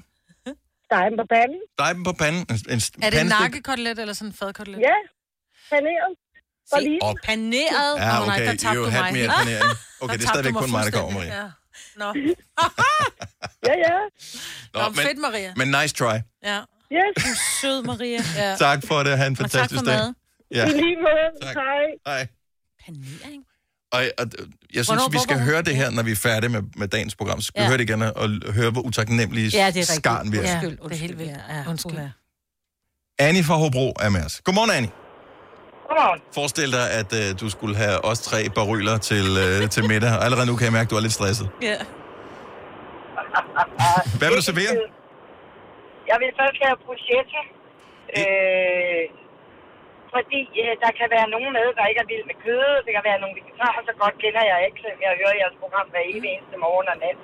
[SPEAKER 20] Stegen på panden.
[SPEAKER 1] Dej dem på panden. En, en
[SPEAKER 3] Er det en
[SPEAKER 1] pandestik.
[SPEAKER 3] nakkekotelet eller sådan en fadkotelet?
[SPEAKER 20] Ja, paneret.
[SPEAKER 3] Se,
[SPEAKER 1] Op.
[SPEAKER 3] paneret.
[SPEAKER 1] Ja,
[SPEAKER 3] Åh, nej,
[SPEAKER 1] okay,
[SPEAKER 3] der tabte
[SPEAKER 1] jo,
[SPEAKER 3] du
[SPEAKER 1] hat
[SPEAKER 3] mig.
[SPEAKER 1] mere panering. Okay, det er stadigvæk kun mig, der kommer, Maria.
[SPEAKER 3] Ja. Nå.
[SPEAKER 20] ja, ja.
[SPEAKER 3] Nå, men, fedt, Maria.
[SPEAKER 1] Men nice try.
[SPEAKER 3] Ja.
[SPEAKER 20] Yes.
[SPEAKER 3] Du er sød, Maria. Ja.
[SPEAKER 1] Tak for det. Ha' en fantastisk dag. Ja.
[SPEAKER 20] I lige måde.
[SPEAKER 1] Tak.
[SPEAKER 20] Hej.
[SPEAKER 1] Hej. Og, og jeg synes,
[SPEAKER 20] Hvornår-
[SPEAKER 1] vi skal
[SPEAKER 20] hvornår-
[SPEAKER 1] høre det her, når vi er færdige med, med dagens program. Så skal
[SPEAKER 2] Ja.
[SPEAKER 1] vi høre det igen og, og høre, hvor utaknemmelige
[SPEAKER 2] Ja, det er rigtigt.
[SPEAKER 1] skarn vi er.
[SPEAKER 2] Undskyld,
[SPEAKER 3] Det er helt vildt. Ja, undskyld.
[SPEAKER 1] Annie fra Hobro er med os. Godmorgen, Annie.
[SPEAKER 21] Godmorgen.
[SPEAKER 1] Forestil dig, at øh, du skulle have os tre baryler til, øh, til middag. Og allerede nu kan jeg mærke, at du er lidt stresset.
[SPEAKER 21] Ja.
[SPEAKER 1] Hvad vil du servere?
[SPEAKER 21] Jeg vil først lave bruschetta. Øh, fordi øh, der kan være nogen med, der ikke er vild med kød. Det kan være nogle vegetarer, så godt kender jeg ikke, selvom jeg hører jeres program hver evig eneste morgen og nat.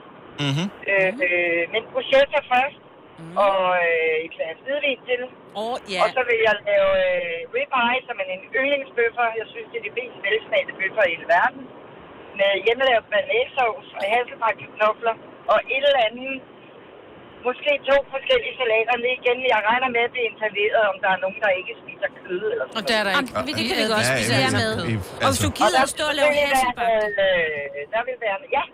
[SPEAKER 1] Mm-hmm.
[SPEAKER 21] Øh, øh, men bruschetta først,
[SPEAKER 2] Mm.
[SPEAKER 21] og øh, et glas hvidvin til.
[SPEAKER 2] Oh, ja.
[SPEAKER 21] Og så vil jeg lave øh, ribeye, som er en yndlingsbøffer. Jeg synes, det er de mest velsmagte bøffer i hele verden. Med hjemmelavet banæssovs og hasselbakkartofler og et eller andet. Måske to forskellige salater ned igen. Jeg regner med, at det er installeret, om der er nogen, der ikke spiser kød. Eller sådan
[SPEAKER 3] Og det er
[SPEAKER 1] Ah,
[SPEAKER 3] der ikke.
[SPEAKER 21] noget.
[SPEAKER 2] det kan vi godt Ja, spise ja, jer med. i- Og
[SPEAKER 1] altså-
[SPEAKER 2] hvis du
[SPEAKER 21] Og
[SPEAKER 2] gider
[SPEAKER 21] der
[SPEAKER 2] at stå og lave
[SPEAKER 21] vil være, øh, Der vil være, ja,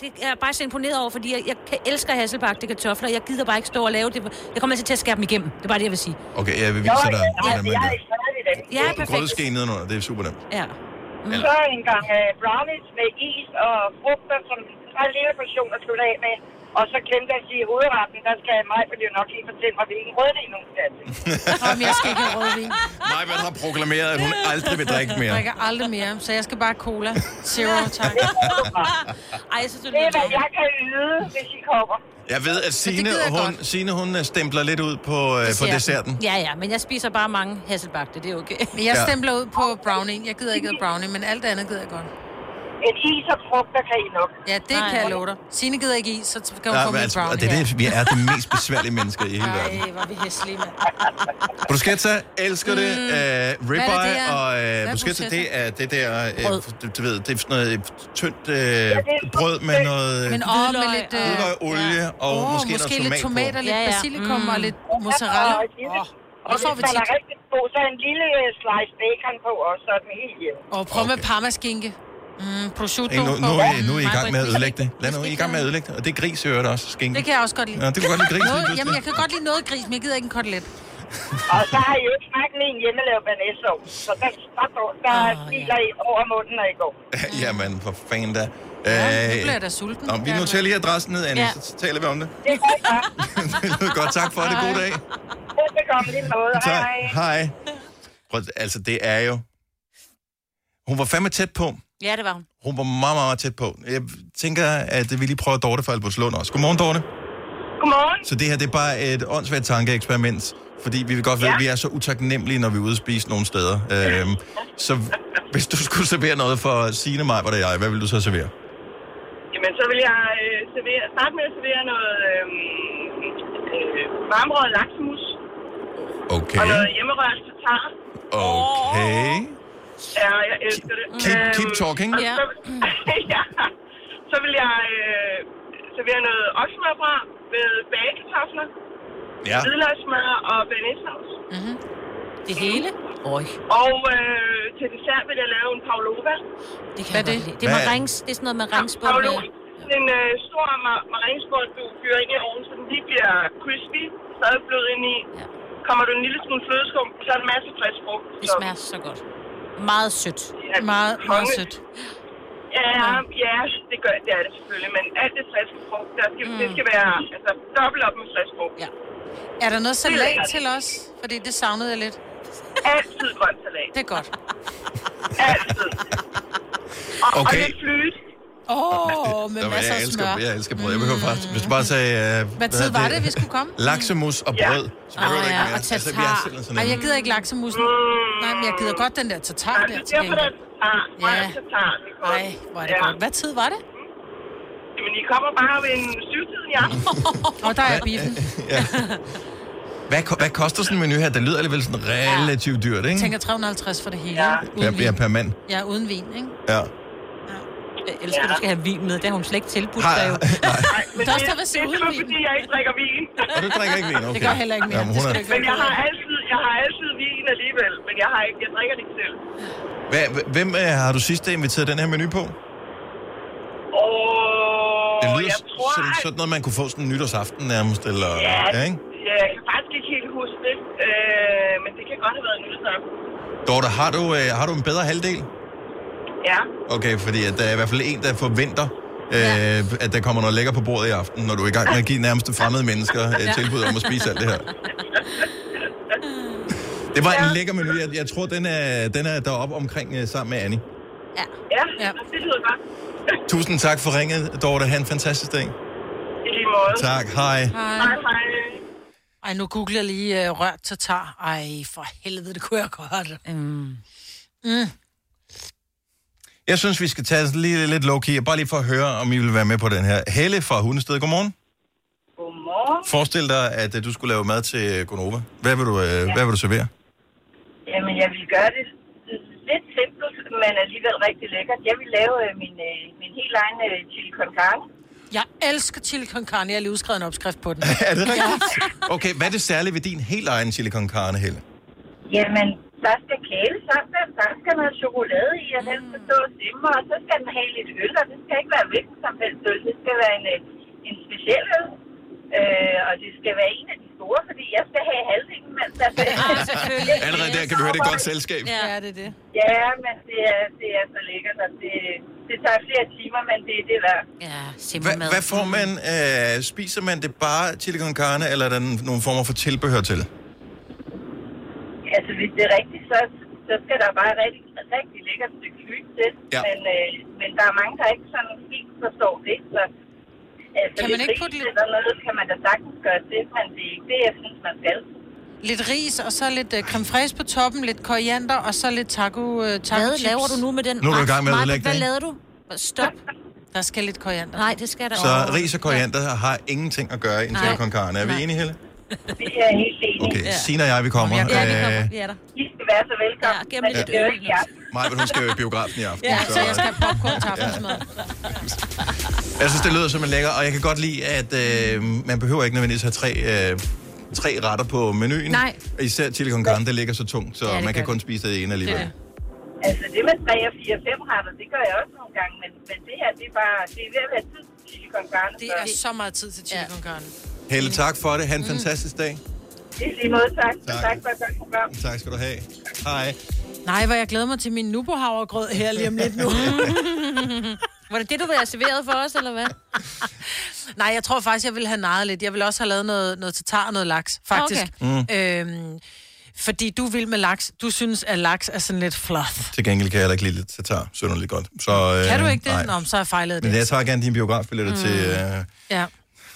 [SPEAKER 2] Det er jeg bare så imponeret over, fordi jeg, jeg kan- elsker hasselbagte kartofler. Jeg gider bare ikke stå og lave det. Jeg kommer altid til at skære dem igennem. Det er bare det, jeg vil sige.
[SPEAKER 1] Okay, jeg vil vise dig,
[SPEAKER 21] altså,
[SPEAKER 1] hvordan man gør.
[SPEAKER 2] Ja, perfekt.
[SPEAKER 1] Grødeske nedenunder, det er super nemt.
[SPEAKER 2] Ja.
[SPEAKER 1] Mm.
[SPEAKER 21] Så en gang øh, brownies med is og frugter, som der er en lille portion at slutte af med. Og så glemte jeg at sige hovedretten, der skal mig, fordi jeg nok lige fortælle mig, hvilken rødvin hun skal til.
[SPEAKER 3] Om jeg skal ikke have rødvin.
[SPEAKER 1] Nej, man har proklameret, at hun aldrig vil drikke
[SPEAKER 3] Jeg
[SPEAKER 1] mere.
[SPEAKER 3] drikker aldrig mere, så jeg skal bare cola. Zero, tak.
[SPEAKER 2] Ej, jeg synes, det
[SPEAKER 21] Det er, hvad jeg kan yde, hvis I kommer.
[SPEAKER 1] Jeg ved, at Signe,
[SPEAKER 2] gider jeg
[SPEAKER 1] hun, Signe, hun øh, stempler lidt ud på, øh, på desserten.
[SPEAKER 2] Ja, ja, men jeg spiser bare mange hasselbagte. Det er okay.
[SPEAKER 3] Men jeg
[SPEAKER 1] Ja.
[SPEAKER 3] stempler ud på brownie. Jeg gider ikke have brownie, men alt andet gider jeg godt.
[SPEAKER 21] En is og frugter kan I nok.
[SPEAKER 3] Ja, det
[SPEAKER 21] Nej.
[SPEAKER 3] kan jeg love dig. Signe gider ikke is, så kan hun
[SPEAKER 1] Nej,
[SPEAKER 3] få
[SPEAKER 1] men
[SPEAKER 3] min
[SPEAKER 1] altså,
[SPEAKER 3] brownie.
[SPEAKER 1] og det er det, vi er de mest besværlige mennesker i hele verden.
[SPEAKER 3] Ej, hvor er vi hæslige, mand.
[SPEAKER 1] Bruschetta, elsker det.
[SPEAKER 3] Mm.
[SPEAKER 1] Mm.
[SPEAKER 3] Hvad er
[SPEAKER 1] Uh,
[SPEAKER 3] det
[SPEAKER 1] ribeye
[SPEAKER 3] der?
[SPEAKER 1] og
[SPEAKER 3] Hvad er
[SPEAKER 1] uh, bruschetta,
[SPEAKER 3] bruschetta?
[SPEAKER 1] det er det der,
[SPEAKER 3] Brød.
[SPEAKER 1] uh, du, du ved, det er sådan noget øh, tyndt
[SPEAKER 3] er
[SPEAKER 1] uh, brød med noget
[SPEAKER 3] Men
[SPEAKER 1] øh,
[SPEAKER 3] og med lidt... øh,
[SPEAKER 1] hvidløg, olie ja. og
[SPEAKER 3] Åh,
[SPEAKER 1] oh, måske,
[SPEAKER 3] måske
[SPEAKER 1] noget
[SPEAKER 3] lidt
[SPEAKER 1] tomat
[SPEAKER 3] tomater,
[SPEAKER 1] på.
[SPEAKER 3] lidt basilikum og lidt mozzarella. Åh,
[SPEAKER 21] Mm. Og
[SPEAKER 3] det
[SPEAKER 21] så
[SPEAKER 3] får vi
[SPEAKER 21] hvis den er
[SPEAKER 3] tit.
[SPEAKER 21] rigtig god, så en lille øh, slice bacon på, og så er den helt hjem.
[SPEAKER 3] Og prøv med parmaskinke. Mm, prosciutto.
[SPEAKER 1] Hey, nu, nu, er I, nu er I i
[SPEAKER 3] Mm,
[SPEAKER 1] gang med at ødelægge det. Lad nu, I er i
[SPEAKER 3] Måske
[SPEAKER 1] gang med at ødelægge det. Og det er gris, jeg hørte også. Skinke.
[SPEAKER 3] Det kan jeg også godt lide.
[SPEAKER 1] Ja, det kan godt lide gris.
[SPEAKER 3] Noget,
[SPEAKER 1] lige
[SPEAKER 3] jamen, jeg
[SPEAKER 1] pludselig.
[SPEAKER 3] kan godt lide noget gris, men jeg gider ikke en kotelet.
[SPEAKER 21] Og så har I jo ikke smagt min hjemmelavet banæssov, så der, der, der, der smiler I over munden, når I går.
[SPEAKER 1] Jamen, for fanden da.
[SPEAKER 3] Ja, nu
[SPEAKER 1] Øh,
[SPEAKER 3] bliver jeg da sulten.
[SPEAKER 1] Nå, vi noterer lige adressen ned, Anne,
[SPEAKER 3] Ja.
[SPEAKER 1] så så taler vi om det.
[SPEAKER 21] Det er godt, tak.
[SPEAKER 1] Det lyder godt, tak for det. God dag.
[SPEAKER 21] Velbekomme lige måde. Hej,
[SPEAKER 1] Tak.
[SPEAKER 21] hej.
[SPEAKER 1] Hej. Prøv, altså, det er jo... Hun var fandme tæt på.
[SPEAKER 2] Ja, det var hun.
[SPEAKER 1] Hun var meget, meget tæt på. Jeg tænker, at vi lige prøver Dorte fra Albertslund også. Godmorgen, Dorte.
[SPEAKER 21] Godmorgen.
[SPEAKER 1] Så det her, det er bare et åndssvagt tankeeksperiment, fordi vi vil godt ved,
[SPEAKER 22] Ja.
[SPEAKER 1] at vi er så utaknemmelige, når vi er ude at spise nogle steder. Øhm, så hvis du skulle servere noget for Signe, mig, hvad det er jeg, hvad vil du så servere?
[SPEAKER 22] Jamen, så vil jeg øh, servere, starte med at servere noget øh, øh, varmrød laksemus
[SPEAKER 1] Okay.
[SPEAKER 22] og noget hjemmerørt tatar.
[SPEAKER 1] Okay.
[SPEAKER 22] Ja, jeg elsker det.
[SPEAKER 1] Keep-
[SPEAKER 22] Øhm,
[SPEAKER 1] keep talking.
[SPEAKER 22] og Så, ja. Så vil jeg øh, servere noget oksemørbrad med bagekartofler,
[SPEAKER 1] Ja.
[SPEAKER 22] hvidløgsmør og bearnaisesauce.
[SPEAKER 3] Mm-hmm. Det hele?
[SPEAKER 2] Oj.
[SPEAKER 22] Og øh, til dessert vil jeg lave en pavlova.
[SPEAKER 2] Det kan Hvad er det? Det er
[SPEAKER 22] Hvad?
[SPEAKER 2] marings. Det er sådan noget maringsbund.
[SPEAKER 22] Pavlova. Sådan en øh, stor ma- marinsbold, du fyrer ind i ovnen, så den lige bliver crispy, stadig blød ind i. Kommer du en lille smule flødeskum, så er der en masse frisk frugt.
[SPEAKER 2] Det smager så godt. Meget sødt.
[SPEAKER 22] Ja,
[SPEAKER 3] Meget, meget
[SPEAKER 22] konge.
[SPEAKER 3] sødt.
[SPEAKER 22] Ja, ja, det gør det er det selvfølgelig, men alt det friske frugt, der skal, mm. det skal være altså, dobbelt op med frisk frugt. Ja.
[SPEAKER 3] Er der noget
[SPEAKER 22] Det er
[SPEAKER 3] salat
[SPEAKER 22] lækkert.
[SPEAKER 3] til os? Fordi det savnede jeg lidt.
[SPEAKER 22] Altid grønt salat.
[SPEAKER 3] Det er godt.
[SPEAKER 1] Og- og Okay. lidt
[SPEAKER 8] flyet.
[SPEAKER 3] Åh, oh, med
[SPEAKER 1] Der var-
[SPEAKER 3] masser
[SPEAKER 1] jeg,
[SPEAKER 3] af
[SPEAKER 1] elsker,
[SPEAKER 3] smør. Mm.
[SPEAKER 1] jeg elsker brød. Jeg behøver faktisk, hvis du bare sagde... Øh,
[SPEAKER 3] Hvad tid
[SPEAKER 1] hedder
[SPEAKER 3] var det, vi skulle komme?
[SPEAKER 1] Laksemus og brød. Så behøver du
[SPEAKER 3] Ej,
[SPEAKER 1] ikke mere.
[SPEAKER 3] og
[SPEAKER 1] Altså, vi er
[SPEAKER 3] tatar.
[SPEAKER 1] simpelthen sådan
[SPEAKER 3] Ej,
[SPEAKER 1] en-
[SPEAKER 3] jeg gider ikke
[SPEAKER 22] Mm.
[SPEAKER 3] laksemusen. Nej, men jeg gider godt den der tatar der til
[SPEAKER 8] derfor,
[SPEAKER 3] gengæld.
[SPEAKER 8] Ja.
[SPEAKER 3] Ja.
[SPEAKER 8] Ej,
[SPEAKER 3] hvor er det godt. Hvad tid var det?
[SPEAKER 8] Jamen, I kommer bare ved en syvtiden i aften.
[SPEAKER 3] Og der er biffen.
[SPEAKER 1] Hvad, ko- hvad koster sådan en menu her? Det lyder alligevel sådan relativt dyrt,
[SPEAKER 3] Jeg
[SPEAKER 1] ikke?
[SPEAKER 3] tænker 350 for det hele. Ja.
[SPEAKER 1] Ja,
[SPEAKER 3] Uden
[SPEAKER 1] ja,
[SPEAKER 3] vin.
[SPEAKER 1] per mand.
[SPEAKER 3] Ja, uden vin, ikke?
[SPEAKER 1] Ja.
[SPEAKER 2] Jeg elsker, ja. du skal have vin med. Det har hun slet ikke tilbudt
[SPEAKER 1] Har-
[SPEAKER 2] dig jo.
[SPEAKER 8] Men
[SPEAKER 3] Det er også der, hvis
[SPEAKER 8] det er kun fordi, jeg ikke drikker vin.
[SPEAKER 1] Og du drikker ikke vin, okay.
[SPEAKER 8] Det gør jeg heller ikke mere.
[SPEAKER 1] Jamen, hun er,
[SPEAKER 8] Men jeg har altid, jeg har altid vin alligevel, men jeg, har ikke, jeg drikker det ikke selv.
[SPEAKER 1] hvad, hvem øh, har du sidst inviteret den her menu på?
[SPEAKER 8] Og
[SPEAKER 1] Det lyder
[SPEAKER 8] jeg tror,
[SPEAKER 1] som
[SPEAKER 8] at-
[SPEAKER 1] sådan noget, man kunne få sådan en nytårsaften nærmest, eller...
[SPEAKER 8] Ja.
[SPEAKER 1] ikke?
[SPEAKER 8] ja, jeg kan faktisk ikke helt huske det, øh, men det kan godt have været en nyhedsaften.
[SPEAKER 1] Dorte, har du, øh, har du en bedre halvdel?
[SPEAKER 8] Ja.
[SPEAKER 1] Okay, fordi at der er i hvert fald en, der forventer, øh, at der kommer noget lækker på bordet i aften, når du er i gang med at give nærmest fremmede mennesker
[SPEAKER 8] Ja.
[SPEAKER 1] øh, tilbud om at spise alt det her. Det var en lækker menu. Jeg, jeg tror, den er, den er deroppe omkring øh, sammen med Annie.
[SPEAKER 8] Ja. Ja, ja. det lyder godt.
[SPEAKER 1] Tusind tak for ringet, Dorte. Ha' en fantastisk dag.
[SPEAKER 8] I lige måde.
[SPEAKER 1] Tak. Hej.
[SPEAKER 8] Hej, hej.
[SPEAKER 3] Ej, nu googler jeg lige uh, rørt tatar. Ej, for helvede, det kunne jeg godt. Mm. Mm.
[SPEAKER 1] Jeg synes, vi skal tage sådan lige lidt low-key, og bare lige for at høre, om I vil være med på den her. Helle fra Hundested, godmorgen.
[SPEAKER 15] Godmorgen.
[SPEAKER 1] Forestil dig, at øh, du skulle lave mad til Gonova. Hvad vil du, øh, hvad vil du servere?
[SPEAKER 15] Jamen, jeg vil gøre det lidt simpelt, men alligevel rigtig lækkert. Jeg vil lave øh, min, øh, min helt egen øh, chili con carne.
[SPEAKER 3] Jeg elsker chili con carne. Jeg har lige udskrevet en opskrift på den.
[SPEAKER 1] er det rigtigt? Okay, hvad er det særlige ved din helt egen chili con carne, Helle?
[SPEAKER 15] Jamen, der skal kæle sammen, der skal noget chokolade i, og den skal stå og simre, og så skal den have lidt øl, og det skal ikke være hvilken som helst øl. Det skal være en, øh, en speciel øl, øh, og det skal være en af de store, fordi jeg skal have halvdelen, mens der
[SPEAKER 1] Allerede der kan vi høre, det er et godt selskab.
[SPEAKER 3] Ja, det er det.
[SPEAKER 15] Ja, men det er, det er så lækkert, og det, det tager flere timer, men det, det er værd.
[SPEAKER 2] Ja,
[SPEAKER 1] Hva, hvad får man? Øh, spiser man det bare chili con carne, eller er der n- nogle former for tilbehør til?
[SPEAKER 15] Altså, hvis det er rigtigt, så, så skal der bare et rigtig, rigtig lækkert stykke flyt til.
[SPEAKER 1] Ja.
[SPEAKER 15] Men, øh, men der er mange, der ikke sådan helt forstår det. Så, altså,
[SPEAKER 3] Kan man ikke putte
[SPEAKER 15] lidt... Eller noget, kan man da sagtens gøre til, men det er ikke det, jeg synes, man skal.
[SPEAKER 3] Lidt ris, og så lidt uh, creme fraiche på toppen, lidt koriander, og så lidt taco, uh, taco
[SPEAKER 2] Hvad laver du nu med den?
[SPEAKER 1] Nu er du i gang med at
[SPEAKER 2] Maja,
[SPEAKER 1] ødelægge
[SPEAKER 2] Hvad
[SPEAKER 1] det,
[SPEAKER 2] lavede
[SPEAKER 1] ikke?
[SPEAKER 2] du? Stop.
[SPEAKER 3] Der skal lidt koriander.
[SPEAKER 2] Nej, det skal der
[SPEAKER 1] Så ris og koriander har ingenting at gøre i en
[SPEAKER 2] Nej.
[SPEAKER 1] chili con carne. Er vi
[SPEAKER 2] Nej.
[SPEAKER 1] enige, Helle?
[SPEAKER 15] Vi er helt enige.
[SPEAKER 1] Okay, Sina og jeg, vi kommer.
[SPEAKER 15] Ja, vi
[SPEAKER 1] Øh,
[SPEAKER 15] kommer.
[SPEAKER 2] Vi er der.
[SPEAKER 15] I skal være så velkommen. Ja,
[SPEAKER 1] lidt
[SPEAKER 15] det er jo ikke jer.
[SPEAKER 1] Maja, hun skal jo i biografen i aften.
[SPEAKER 15] Ja, så jeg skal
[SPEAKER 1] øh,
[SPEAKER 15] have popcorn til aftensmad.
[SPEAKER 1] Jeg synes, det lyder som en lækker, og jeg kan godt lide, at øh, man behøver ikke nødvendigvis have tre, øh, tre retter på menuen.
[SPEAKER 15] Nej.
[SPEAKER 1] Især chili con carne, det ligger så tungt, så
[SPEAKER 15] Ja,
[SPEAKER 1] ja,
[SPEAKER 15] det
[SPEAKER 1] man kan
[SPEAKER 15] gør
[SPEAKER 1] kun spise det ene alligevel.
[SPEAKER 15] Det Altså, det med 3 og 4 og 5 retter, det gør jeg også nogle gange, men, men det her, det er bare, det er ved at være tid til chili con carne.
[SPEAKER 3] Det er så meget tid til chili con carne.
[SPEAKER 1] Helle, tak for det. Ha' en fantastisk dag.
[SPEAKER 15] Det er lige måde, tak. tak.
[SPEAKER 1] Tak.
[SPEAKER 15] tak for et godt program.
[SPEAKER 1] Tak skal du have. Hej.
[SPEAKER 3] Nej, hvor jeg glæder mig til min nubohavregrød her lige om lidt nu.
[SPEAKER 2] Var det det, du ville have serveret for os, eller hvad?
[SPEAKER 3] Nej, jeg tror faktisk, jeg ville have nejet lidt. Jeg ville også have lavet noget, noget tatar og noget laks, faktisk. Okay.
[SPEAKER 2] Mm.
[SPEAKER 3] Øhm, fordi du vil med laks. Du synes, at laks er sådan lidt fluff.
[SPEAKER 1] Til gengæld kan jeg heller ikke lide lidt tatar synderligt godt. Så, øh,
[SPEAKER 3] Kan du ikke
[SPEAKER 1] Nej.
[SPEAKER 3] det? Nå, men så har jeg fejlet det.
[SPEAKER 1] Men jeg tager gerne dine biografbilletter
[SPEAKER 3] Mm.
[SPEAKER 1] mm. til, øh,
[SPEAKER 3] Ja.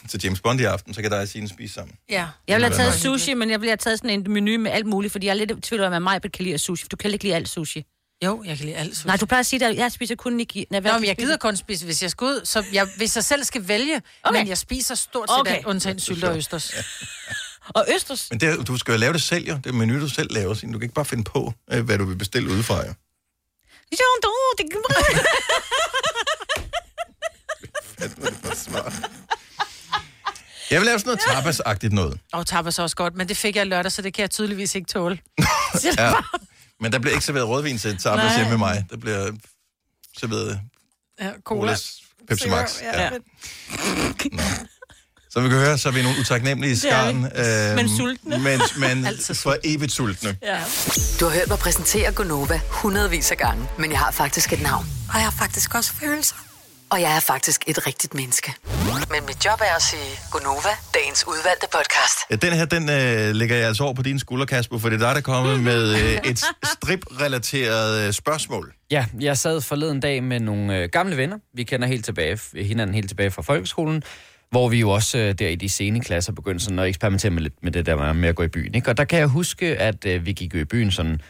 [SPEAKER 1] til James Bond i aften, så kan dig og Signe spise sammen.
[SPEAKER 3] ja.
[SPEAKER 2] Jeg ville have
[SPEAKER 1] Det er
[SPEAKER 2] taget
[SPEAKER 1] nice.
[SPEAKER 2] sushi, men jeg ville have taget sådan en menu med alt muligt, fordi jeg er lidt i tvivl om, at mig kan lide sushi. for Du kan ikke lide alt sushi.
[SPEAKER 3] Jo, jeg kan lide alt sushi.
[SPEAKER 2] Nej, du plejer at sige, at jeg spiser kun niki. Nej,
[SPEAKER 3] Nå, men jeg gider kun spise, hvis jeg skal ud. Så jeg, hvis jeg selv skal vælge, okay. men jeg spiser stort set
[SPEAKER 2] Okay.
[SPEAKER 3] okay. alt, undtagen sylte og østers.
[SPEAKER 2] Og østers?
[SPEAKER 1] Men det, er- du skal jo lave det selv, jo. Det er menu, du selv laver, Signe. Du kan ikke bare finde på, øh, hvad du vil bestille udefra, jo.
[SPEAKER 2] Jo, du, det kan
[SPEAKER 1] Jeg vil lave sådan noget tapas-agtigt noget.
[SPEAKER 3] Og tapas er også godt, men det fik jeg lørdag, så det kan jeg tydeligvis ikke tåle.
[SPEAKER 1] Ja. Men der bliver ikke serveret rødvin til tapas
[SPEAKER 3] Nej.
[SPEAKER 1] hjemme med mig. Der bliver serveret
[SPEAKER 3] Ja, cola.
[SPEAKER 1] colas, Pepsi Max.
[SPEAKER 3] Zero,
[SPEAKER 1] Ja.
[SPEAKER 3] ja.
[SPEAKER 1] Ja. Som vi kan høre, så er vi nogle utaknemmelige i
[SPEAKER 6] Det er vi.
[SPEAKER 1] skarn. øh,
[SPEAKER 6] Men sultne.
[SPEAKER 1] Men, men for evigt sultne.
[SPEAKER 6] Ja.
[SPEAKER 1] Du har hørt mig præsentere
[SPEAKER 6] Gonova hundredvis af gange, men jeg har faktisk et navn.
[SPEAKER 23] Og jeg har faktisk også følelser.
[SPEAKER 6] Og jeg er faktisk et rigtigt menneske. Men mit job er at sige Gunova, dagens udvalgte podcast.
[SPEAKER 1] Ja, den her, den øh, lægger jeg altså over på dine skuldre, Kasper, for det er dig, der kommer
[SPEAKER 6] Mhm.
[SPEAKER 1] med øh, et strip-relateret øh, spørgsmål.
[SPEAKER 7] Ja, jeg sad forleden dag med nogle øh, gamle venner. Vi kender helt tilbage, hinanden helt tilbage fra folkeskolen, hvor vi jo også øh, der i de sene klasser begyndte sådan at eksperimentere med, lidt med det der med- med at gå i byen. Ikke? Og der kan jeg huske, at øh, vi gik jo i byen sådan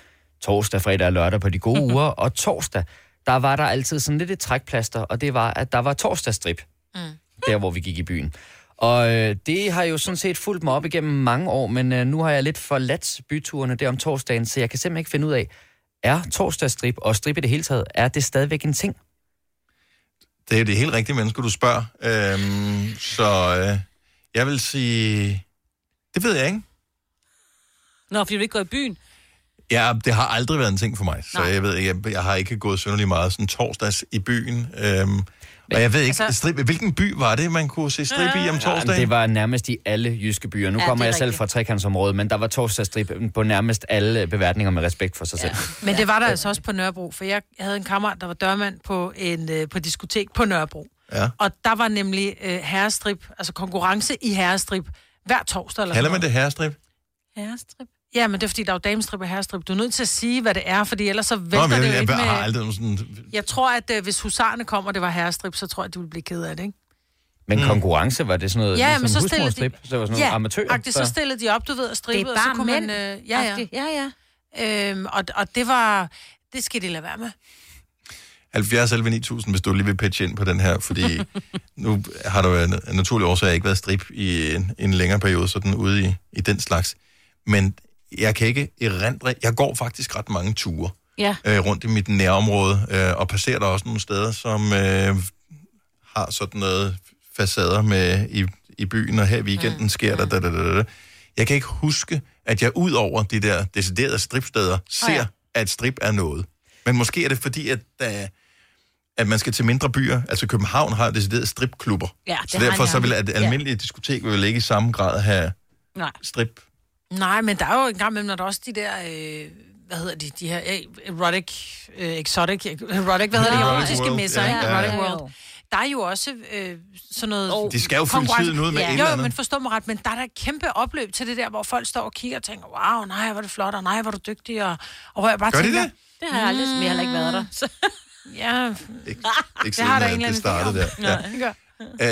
[SPEAKER 7] torsdag, fredag og lørdag på de gode uger, og torsdag, der var der altid sådan lidt et trækplaster, og det var, at der var torsdagstrip der hvor vi gik i byen. Og øh, det har jo sådan set fulgt mig op igennem mange år, men øh, nu har jeg lidt forladt byturene der om torsdagen, så jeg kan simpelthen ikke finde ud af, er torsdagsstrip og strip i det hele taget, er det stadigvæk en ting?
[SPEAKER 1] Det er jo det helt rigtige menneske, du spørger. Øhm, så øh, jeg vil sige... Det ved jeg ikke.
[SPEAKER 2] Nå, fordi du ikke går i byen.
[SPEAKER 1] Ja, det har aldrig været en ting for mig. Så jeg ved ikke, jeg, jeg har ikke gået synderlig meget sådan torsdags i byen. Øhm, og jeg ved ikke,
[SPEAKER 7] altså-
[SPEAKER 1] altså... strip, hvilken by var det, man kunne se strip i
[SPEAKER 3] Ah.
[SPEAKER 1] om
[SPEAKER 7] Ja, men
[SPEAKER 1] torsdagen?
[SPEAKER 7] det var nærmest i alle jyske byer.
[SPEAKER 1] Ja,
[SPEAKER 7] Nu ja,
[SPEAKER 1] det er
[SPEAKER 7] kommer jeg selv
[SPEAKER 1] rigtigt.
[SPEAKER 7] fra trekantsområdet, men der var torsdagsstrip på nærmest alle beværtninger med respekt for sig ja. selv.
[SPEAKER 3] Men det var der altså også på Nørrebro, for jeg havde en kammerat, der var dørmand på en øh, på et diskotek på Nørrebro.
[SPEAKER 1] Ja.
[SPEAKER 3] Og der var nemlig øh, herrestrip, altså konkurrence i herrestrip, hver torsdag. Eller
[SPEAKER 1] Kalder
[SPEAKER 3] sådan
[SPEAKER 1] man det herrestrip?
[SPEAKER 3] noget. Herrestrip? Ja, men det er fordi, der er jo damestrip og herrestrip. Du er nødt til at sige, hvad det er, fordi ellers så
[SPEAKER 1] Nå,
[SPEAKER 3] vælter
[SPEAKER 1] men jeg,
[SPEAKER 3] det jo
[SPEAKER 1] jeg,
[SPEAKER 3] ind
[SPEAKER 1] jeg, jeg har
[SPEAKER 3] med...
[SPEAKER 1] aldrig nogen sådan
[SPEAKER 3] Jeg tror, at øh, hvis husarerne kommer, og det var herrestrip, så tror jeg, at de ville blive ked af det, ikke?
[SPEAKER 7] Men konkurrence, var det sådan noget
[SPEAKER 3] Mm. Ja, men så
[SPEAKER 7] ligesom
[SPEAKER 3] stillede de-
[SPEAKER 7] husmorstrip? Så var sådan nogle
[SPEAKER 3] Ja,
[SPEAKER 7] amatører?
[SPEAKER 3] agtigt, så stillede de op, du ved, og stribede,
[SPEAKER 2] Det er
[SPEAKER 3] og så
[SPEAKER 2] bare
[SPEAKER 3] kunne
[SPEAKER 2] mænd.
[SPEAKER 3] man... Øh, ja, ja.
[SPEAKER 2] Agtigt, ja,
[SPEAKER 3] ja. Øhm, og, og det var... Det skal de lade være med.
[SPEAKER 1] 70 11 9000, hvis du lige vil pitche ind på den her, fordi nu har du jo af naturlige årsager ikke været strip i en, en længere periode, sådan ude i, i den slags. Men jeg kan ikke erindre, jeg går faktisk ret mange ture
[SPEAKER 2] Ja.
[SPEAKER 1] øh, rundt i mit nærområde, øh, og passerer der også nogle steder, som øh, har sådan noget facader med i, i byen, og her i weekenden mm. sker der da, da, da, da. Jeg kan ikke huske, at jeg ud over de der deciderede stripsteder, ser, oh,
[SPEAKER 2] ja.
[SPEAKER 1] ja. at strip er noget. Men måske er det fordi, at, der, at man skal til mindre byer. Altså København har decideret stripklubber.
[SPEAKER 3] Ja, det
[SPEAKER 1] så
[SPEAKER 3] har
[SPEAKER 1] derfor
[SPEAKER 3] de
[SPEAKER 1] så vil
[SPEAKER 3] aldrig.
[SPEAKER 1] et almindeligt ja. diskotek vil ikke i samme grad have
[SPEAKER 2] Nej.
[SPEAKER 1] strip.
[SPEAKER 3] Nej, men der er jo en gang imellem, når der også de der, øh, hvad hedder de, de her øh, erotic, øh, exotic, erotic, hvad hedder de,
[SPEAKER 1] Erotic
[SPEAKER 3] erotiske
[SPEAKER 1] World,
[SPEAKER 3] messer,
[SPEAKER 1] ja,
[SPEAKER 3] ikke?
[SPEAKER 1] ja, ja.
[SPEAKER 3] Erotic World. Der er jo også øh, sådan noget...
[SPEAKER 1] De skal jo fylde
[SPEAKER 3] konkurrence.
[SPEAKER 1] tiden ud med et eller
[SPEAKER 3] Jo,
[SPEAKER 1] andet.
[SPEAKER 3] men forstå mig ret, men der er der et kæmpe opløb til det der, hvor folk står og kigger og tænker, wow, nej, hvor er du flot, og nej, hvor er du dygtig, og, og hvor jeg bare
[SPEAKER 1] Gør de
[SPEAKER 3] tænker...
[SPEAKER 1] det?
[SPEAKER 2] Det har jeg aldrig, men jeg har heller ikke været der. Så.
[SPEAKER 3] Ja,
[SPEAKER 1] Ikke
[SPEAKER 3] det har der
[SPEAKER 1] at
[SPEAKER 3] en eller
[SPEAKER 1] det
[SPEAKER 3] anden
[SPEAKER 1] startede der.
[SPEAKER 3] idé om. Nej, det gør.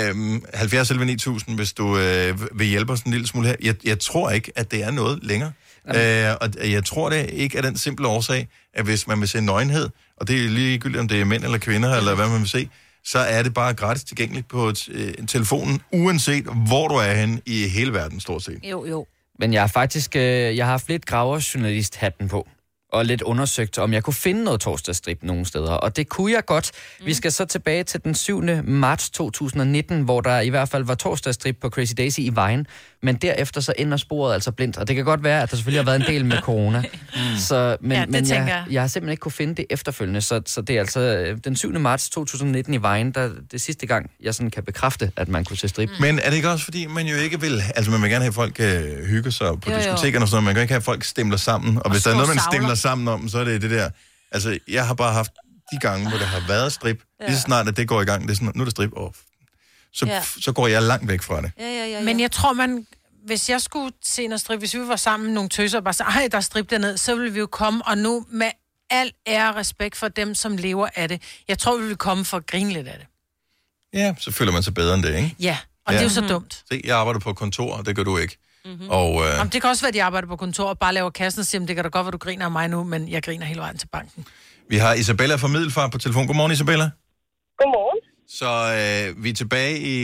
[SPEAKER 1] Øhm, 70 11 9000, hvis du øh, vil hjælpe os en lille smule her. Jeg, jeg tror ikke, at det er noget længere. Øh, og jeg tror det ikke af den simple årsag, at hvis man vil se nøgenhed, og det er ligegyldigt, om det er mænd eller kvinder, eller hvad man vil se, så er det bare gratis tilgængeligt på t- øh, telefonen, uanset hvor du er henne i hele verden, stort set.
[SPEAKER 2] Jo, jo.
[SPEAKER 7] Men jeg har faktisk øh, jeg har haft lidt graverjournalist-hatten på, og lidt undersøgt, om jeg kunne finde noget torsdagsstrip nogle steder, og det kunne jeg godt. Mm. Vi skal så tilbage til den 7. marts 2019, hvor der i hvert fald var torsdagsstrip på Crazy Daisy i Vejen, men derefter så ender sporet altså blindt, og det kan godt være, at der selvfølgelig har været en del med corona. Mm. Så, men,
[SPEAKER 3] Ja, det
[SPEAKER 7] men
[SPEAKER 3] tænker
[SPEAKER 7] jeg,
[SPEAKER 3] jeg.
[SPEAKER 7] jeg har simpelthen ikke kunne finde det efterfølgende, så, så det er altså øh, den 7. marts 2019 i Vejen, der det er sidste gang, jeg sådan kan bekræfte, at man kunne se strip.
[SPEAKER 1] Men er det ikke også, fordi man jo ikke vil... Altså, man vil gerne have folk øh, hygge sig på
[SPEAKER 7] Jo,
[SPEAKER 1] jo,
[SPEAKER 7] jo.
[SPEAKER 1] diskotekerne og sådan noget. Man kan ikke have, at folk stemler sammen. Og, og hvis der er
[SPEAKER 7] står
[SPEAKER 1] noget, man
[SPEAKER 7] savler.
[SPEAKER 1] stemler sammen om, så er det det der... Altså, jeg har bare haft de gange, hvor der har været strip. Ja. Lige så snart, at det går i gang, det er sådan, nu er det strip off. Så,
[SPEAKER 3] Ja.
[SPEAKER 1] ja. så går jeg langt væk fra det.
[SPEAKER 2] Ja, ja, ja,
[SPEAKER 3] Men jeg tror, man... Hvis jeg skulle se noget strip, hvis vi var sammen nogle tøser og bare sagde, ej, der er strip dernede, så ville vi jo komme, og nu med al ære og respekt for dem, som lever af det, jeg tror, vi ville komme for at grine lidt af det.
[SPEAKER 1] Ja, så føler man sig bedre end det, ikke?
[SPEAKER 3] Ja, og ja. det er jo
[SPEAKER 2] Mm.
[SPEAKER 3] så dumt.
[SPEAKER 1] Se, jeg arbejder på et kontor, og det gør du ikke. Mm-hmm. Og øh,
[SPEAKER 3] Jamen, det kan også være, at de arbejder på kontor og bare laver kassen og siger, "Men det kan da godt være, du griner af mig nu, men jeg griner hele vejen til banken.
[SPEAKER 1] vi har Isabella fra Middelfart på telefon. Godmorgen, Isabella.
[SPEAKER 8] Godmorgen.
[SPEAKER 1] Så øh, vi er tilbage i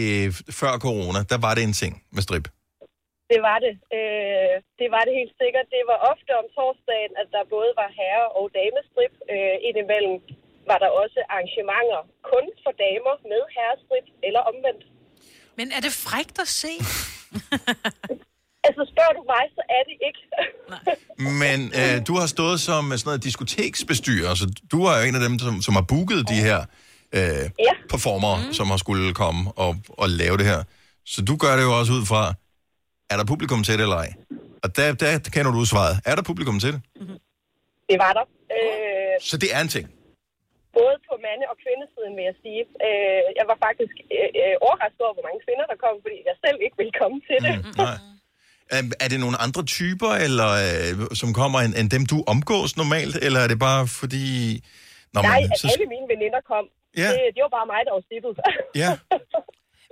[SPEAKER 1] før corona. Der var det en ting med strip.
[SPEAKER 8] Det var det. Øh, det var det helt sikkert. Det var ofte om torsdagen, at der både var herre- og damestrip. Øh, indimellem var der også arrangementer kun for damer med herrestrip eller omvendt.
[SPEAKER 3] Men er det frægt at se?
[SPEAKER 8] altså spørger du mig, så er det ikke.
[SPEAKER 1] Men øh, du har stået som øh, sådan noget diskoteksbestyrer, så du er jo en af dem, som, som har booket de her øh, ja. performer, mm. som har skulle komme og, og lave det her. Så du gør det jo også ud fra, er der publikum til det eller ej? Og der, der kender du svaret. Er der publikum til det?
[SPEAKER 8] Det var der. Øh,
[SPEAKER 1] Så det er en ting.
[SPEAKER 8] både på ma mande- og kvindesiden, vil jeg sige. Øh, jeg var faktisk øh, øh, overrasket over, hvor mange kvinder der kom, fordi jeg selv ikke ville komme til det. Mm.
[SPEAKER 1] Nej. Er- Er det nogle andre typer, eller, øh, som kommer, end, end dem, du omgås normalt? Eller er det bare fordi... Nå,
[SPEAKER 8] Nej,
[SPEAKER 1] men,
[SPEAKER 8] at alle mine veninder kom.
[SPEAKER 1] Ja.
[SPEAKER 8] Det, det var bare mig, der var stippet.
[SPEAKER 1] Ja,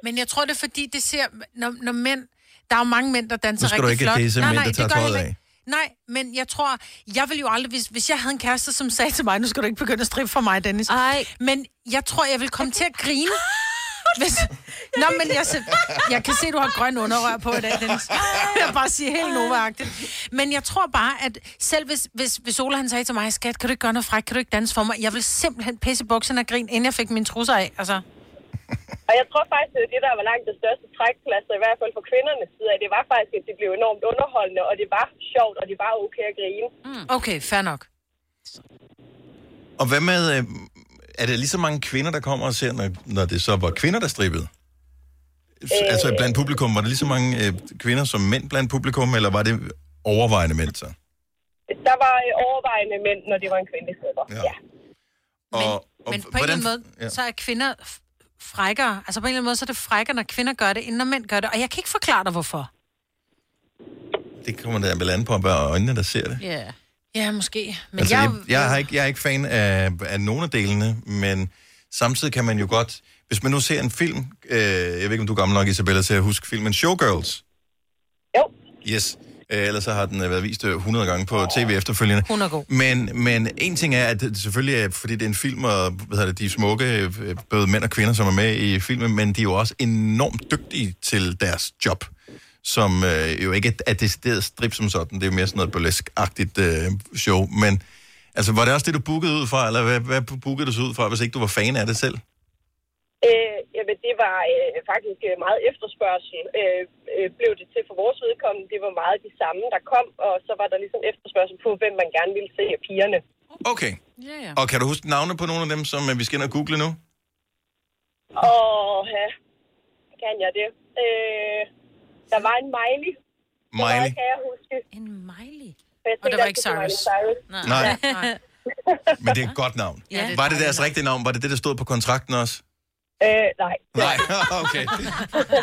[SPEAKER 3] Men jeg tror, det er fordi, det ser, når, når mænd... Der er jo mange mænd, der danser
[SPEAKER 1] Nu skal du
[SPEAKER 3] rigtig
[SPEAKER 1] ikke
[SPEAKER 3] flot.
[SPEAKER 1] disse mænd, der
[SPEAKER 3] det
[SPEAKER 1] tager
[SPEAKER 3] gør jeg
[SPEAKER 1] tøjet
[SPEAKER 3] heller ikke. Nej, men jeg tror, jeg vil jo aldrig, hvis, hvis jeg havde en kæreste, som sagde til mig, nu skal du ikke begynde at strippe for mig, Dennis.
[SPEAKER 2] Nej.
[SPEAKER 3] Men jeg tror, jeg vil komme til at grine. Hvis... Nå, men jeg, se- jeg kan se, du har grøn underrør på i dag, Dennis. Jeg bare sige helt novagtigt. Men jeg tror bare, at selv hvis, hvis, hvis Ola han sagde til mig, skat, kan du ikke gøre noget fræk, kan du ikke danse for mig? Jeg vil simpelthen pisse i bukserne og grine, inden jeg fik mine trusser af. Altså.
[SPEAKER 8] Og jeg tror faktisk, at det der var langt det største trækplads, i hvert fald for kvindernes side, af, det var faktisk, at det blev enormt underholdende, og det var sjovt, og det var okay at grine.
[SPEAKER 3] Mm. Okay, fair nok.
[SPEAKER 1] og hvad med... Øh, er det lige så mange kvinder, der kommer og ser, når, når det så var kvinder, der strippede? Øh. Altså blandt publikum, var det lige så mange øh, kvinder som mænd blandt publikum, eller var det overvejende mænd så?
[SPEAKER 8] Der var øh, overvejende mænd, når det var en kvindestripper. Ja. ja.
[SPEAKER 1] Og, og
[SPEAKER 3] Men på en eller anden måde, ja. så er kvinder f- frækkere. Altså på en eller anden måde, så er det frækkere, når kvinder gør det, end når mænd gør det. Og jeg kan ikke forklare dig, hvorfor.
[SPEAKER 1] Det kommer der vel an på, hvad øjnene, der ser det.
[SPEAKER 3] Ja. Yeah. Ja, måske. Men
[SPEAKER 1] Men altså,
[SPEAKER 3] jeg...
[SPEAKER 1] jeg, jeg, har ikke, jeg er ikke fan af, af nogen af delene, men samtidig kan man jo godt... Hvis man nu ser en film... Øh, jeg ved ikke, om du er gammel nok, Isabella, til at huske filmen Showgirls. Jo. Yes. Øh, ellers så har den øh, været vist øh, 100 gange på tv efterfølgende.
[SPEAKER 3] Hun er god.
[SPEAKER 1] Men, men en ting er, at det selvfølgelig er, fordi det er en film, og hvad hedder det, de er smukke, øh, både mænd og kvinder, som er med i filmen, men de er jo også enormt dygtige til deres job, som øh, jo ikke er decideret strip som sådan, det er jo mere sådan noget burlesk-agtigt øh, show, men altså, var det også det, du bookede ud fra, eller hvad, hvad bookede du så ud fra, hvis ikke du var fan af det selv?
[SPEAKER 8] Øh, jamen, det var øh, faktisk øh, meget efterspørgsel, øh, øh, blev det til for vores vedkommende. Det var meget de samme, der kom, og så var der ligesom efterspørgsel på, hvem man gerne ville se af pigerne.
[SPEAKER 1] Okay,
[SPEAKER 3] Ja, ja.
[SPEAKER 1] og kan du huske navne på nogle af dem, som øh, vi skal ind og google nu?
[SPEAKER 8] Åh, ja. Kan jeg det? Øh, der var en Miley.
[SPEAKER 1] Miley.
[SPEAKER 8] Det kan jeg huske.
[SPEAKER 2] En Miley?
[SPEAKER 3] Og der var ikke Cyrus.
[SPEAKER 1] Nej. Nej. Men det er et godt navn.
[SPEAKER 8] Ja, det er et
[SPEAKER 1] var det deres rigtige navn? Var det det, der stod på kontrakten også?
[SPEAKER 8] Øh, nej.
[SPEAKER 1] Nej, okay.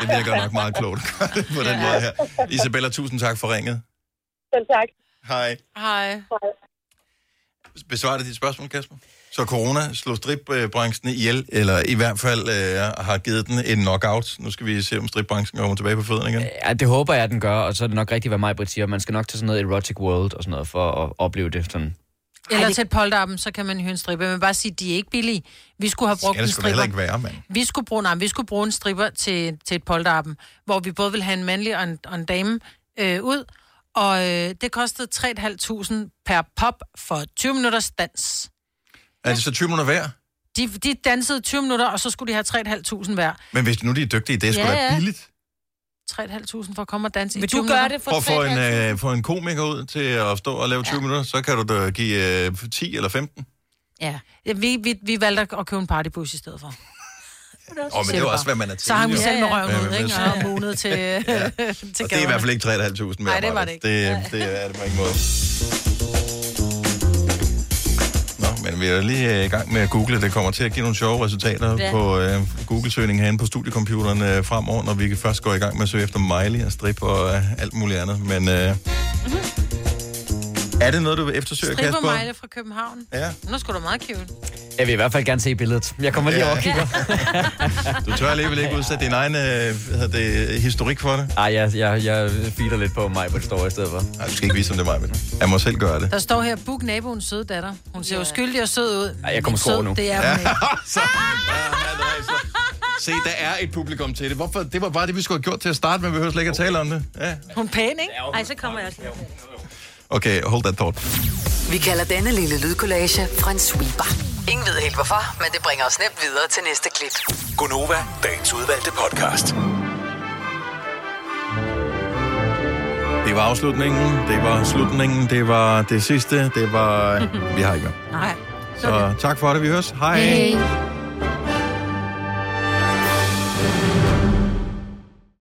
[SPEAKER 1] Det virker nok meget klogt at gøre det på den måde her. Isabella, tusind tak for ringet.
[SPEAKER 8] Selv tak.
[SPEAKER 1] Hej.
[SPEAKER 3] Hej.
[SPEAKER 1] Besvarer det dit spørgsmål, Kasper? Så corona slog stripbranchen ihjel, eller i hvert fald øh, har givet den en knockout. Nu skal vi se, om stripbranchen kommer tilbage på fødderne igen.
[SPEAKER 7] Ja, det håber jeg, at den gør, og så er det nok rigtigt, hvad mig siger. Man skal nok til sådan noget erotic world og sådan noget for at opleve det sådan.
[SPEAKER 3] Eller til et polterappen, så kan man hyre en stripper. Men bare sige, de er ikke billige. Vi skulle have brugt
[SPEAKER 7] Skal
[SPEAKER 3] en
[SPEAKER 7] det sgu da heller
[SPEAKER 3] stripper.
[SPEAKER 1] ikke være, mand.
[SPEAKER 3] Vi skulle bruge, nej, vi skulle bruge en stripper til, til et polterappen, hvor vi både ville have en mandlig og en, og en dame øh, ud. Og øh, det kostede 3.500 per pop for 20 minutters dans.
[SPEAKER 1] Er det så 20 minutter hver?
[SPEAKER 3] De, de dansede 20 minutter, og så skulle de have 3.500 hver.
[SPEAKER 1] Men hvis nu de er dygtige, det er sgu
[SPEAKER 3] Ja,
[SPEAKER 1] da
[SPEAKER 3] ja.
[SPEAKER 1] billigt.
[SPEAKER 3] 3.500 for at komme og danse i
[SPEAKER 2] Vil
[SPEAKER 3] 20
[SPEAKER 2] du gøre
[SPEAKER 3] minutter.
[SPEAKER 2] det
[SPEAKER 1] Prøv at få en, øh, få en komiker ud til at stå og lave 20 ja. minutter, så kan du da give øh, 10 eller 15.
[SPEAKER 3] Ja. ja vi, vi, vi valgte at købe en partybus i stedet for.
[SPEAKER 1] Åh, men det er jo også, hvad man er til.
[SPEAKER 3] Så hang vi
[SPEAKER 1] jo.
[SPEAKER 3] selv med
[SPEAKER 1] Ja,
[SPEAKER 3] røven ud,
[SPEAKER 1] men
[SPEAKER 3] ikke?
[SPEAKER 1] så-
[SPEAKER 3] Og munet til, ja. til
[SPEAKER 1] Og det er i hvert fald ikke 3.500 værd.
[SPEAKER 3] Nej, det var det ikke.
[SPEAKER 1] Det, det er det på ingen måde. Nå, men vi er lige øh, i gang med at google. Det kommer til at give nogle sjove resultater
[SPEAKER 5] Ja.
[SPEAKER 1] ja. på øh, Google-søgningen herinde på studiecomputeren øh, fremover, når vi først går i gang med at søge efter Miley og strip og øh, alt muligt andet. Men øh,
[SPEAKER 3] Mhm.
[SPEAKER 1] er det noget, du eftersøger,
[SPEAKER 3] Stripper
[SPEAKER 1] Kasper?
[SPEAKER 3] Mejle fra København.
[SPEAKER 1] Ja.
[SPEAKER 3] Nu skulle du meget cute.
[SPEAKER 7] Jeg vil i hvert fald gerne se billedet. Jeg kommer lige
[SPEAKER 1] Ja.
[SPEAKER 7] over og kigger.
[SPEAKER 1] Du tør alligevel ikke udsætte din egen øh, hvad hedder det, historik for det?
[SPEAKER 7] Ej, jeg, jeg, jeg feeder lidt på mig, hvor det står i stedet for.
[SPEAKER 1] Nej, du skal ikke vise, om det er mig, Jeg må selv gøre det.
[SPEAKER 3] Der står her, book naboens søde datter. Hun ser jo skyldig og sød ud.
[SPEAKER 7] Ej, jeg kommer
[SPEAKER 3] sød,
[SPEAKER 1] sgu over nu.
[SPEAKER 3] det er hun
[SPEAKER 1] Ja.
[SPEAKER 3] ikke.
[SPEAKER 1] Så- Se, der er et publikum til det. Hvorfor? Det var bare det, vi skulle have gjort til at starte med. Vi behøver slet ikke at tale om det. Ja.
[SPEAKER 3] Hun er pæn, ikke?
[SPEAKER 2] Ej, så kommer jeg også lige.
[SPEAKER 1] Okay, hold that thought.
[SPEAKER 6] Vi kalder denne lille lydkollage en sweeper. Ingen ved helt hvorfor, men det bringer os nemt videre til næste klip.
[SPEAKER 5] Gonova, dagens udvalgte podcast.
[SPEAKER 1] Det var afslutningen, det var slutningen, det var det sidste, det var... Vi har ikke mere.
[SPEAKER 3] Nej.
[SPEAKER 1] Så tak for det, vi høres. Hej.
[SPEAKER 3] Hej.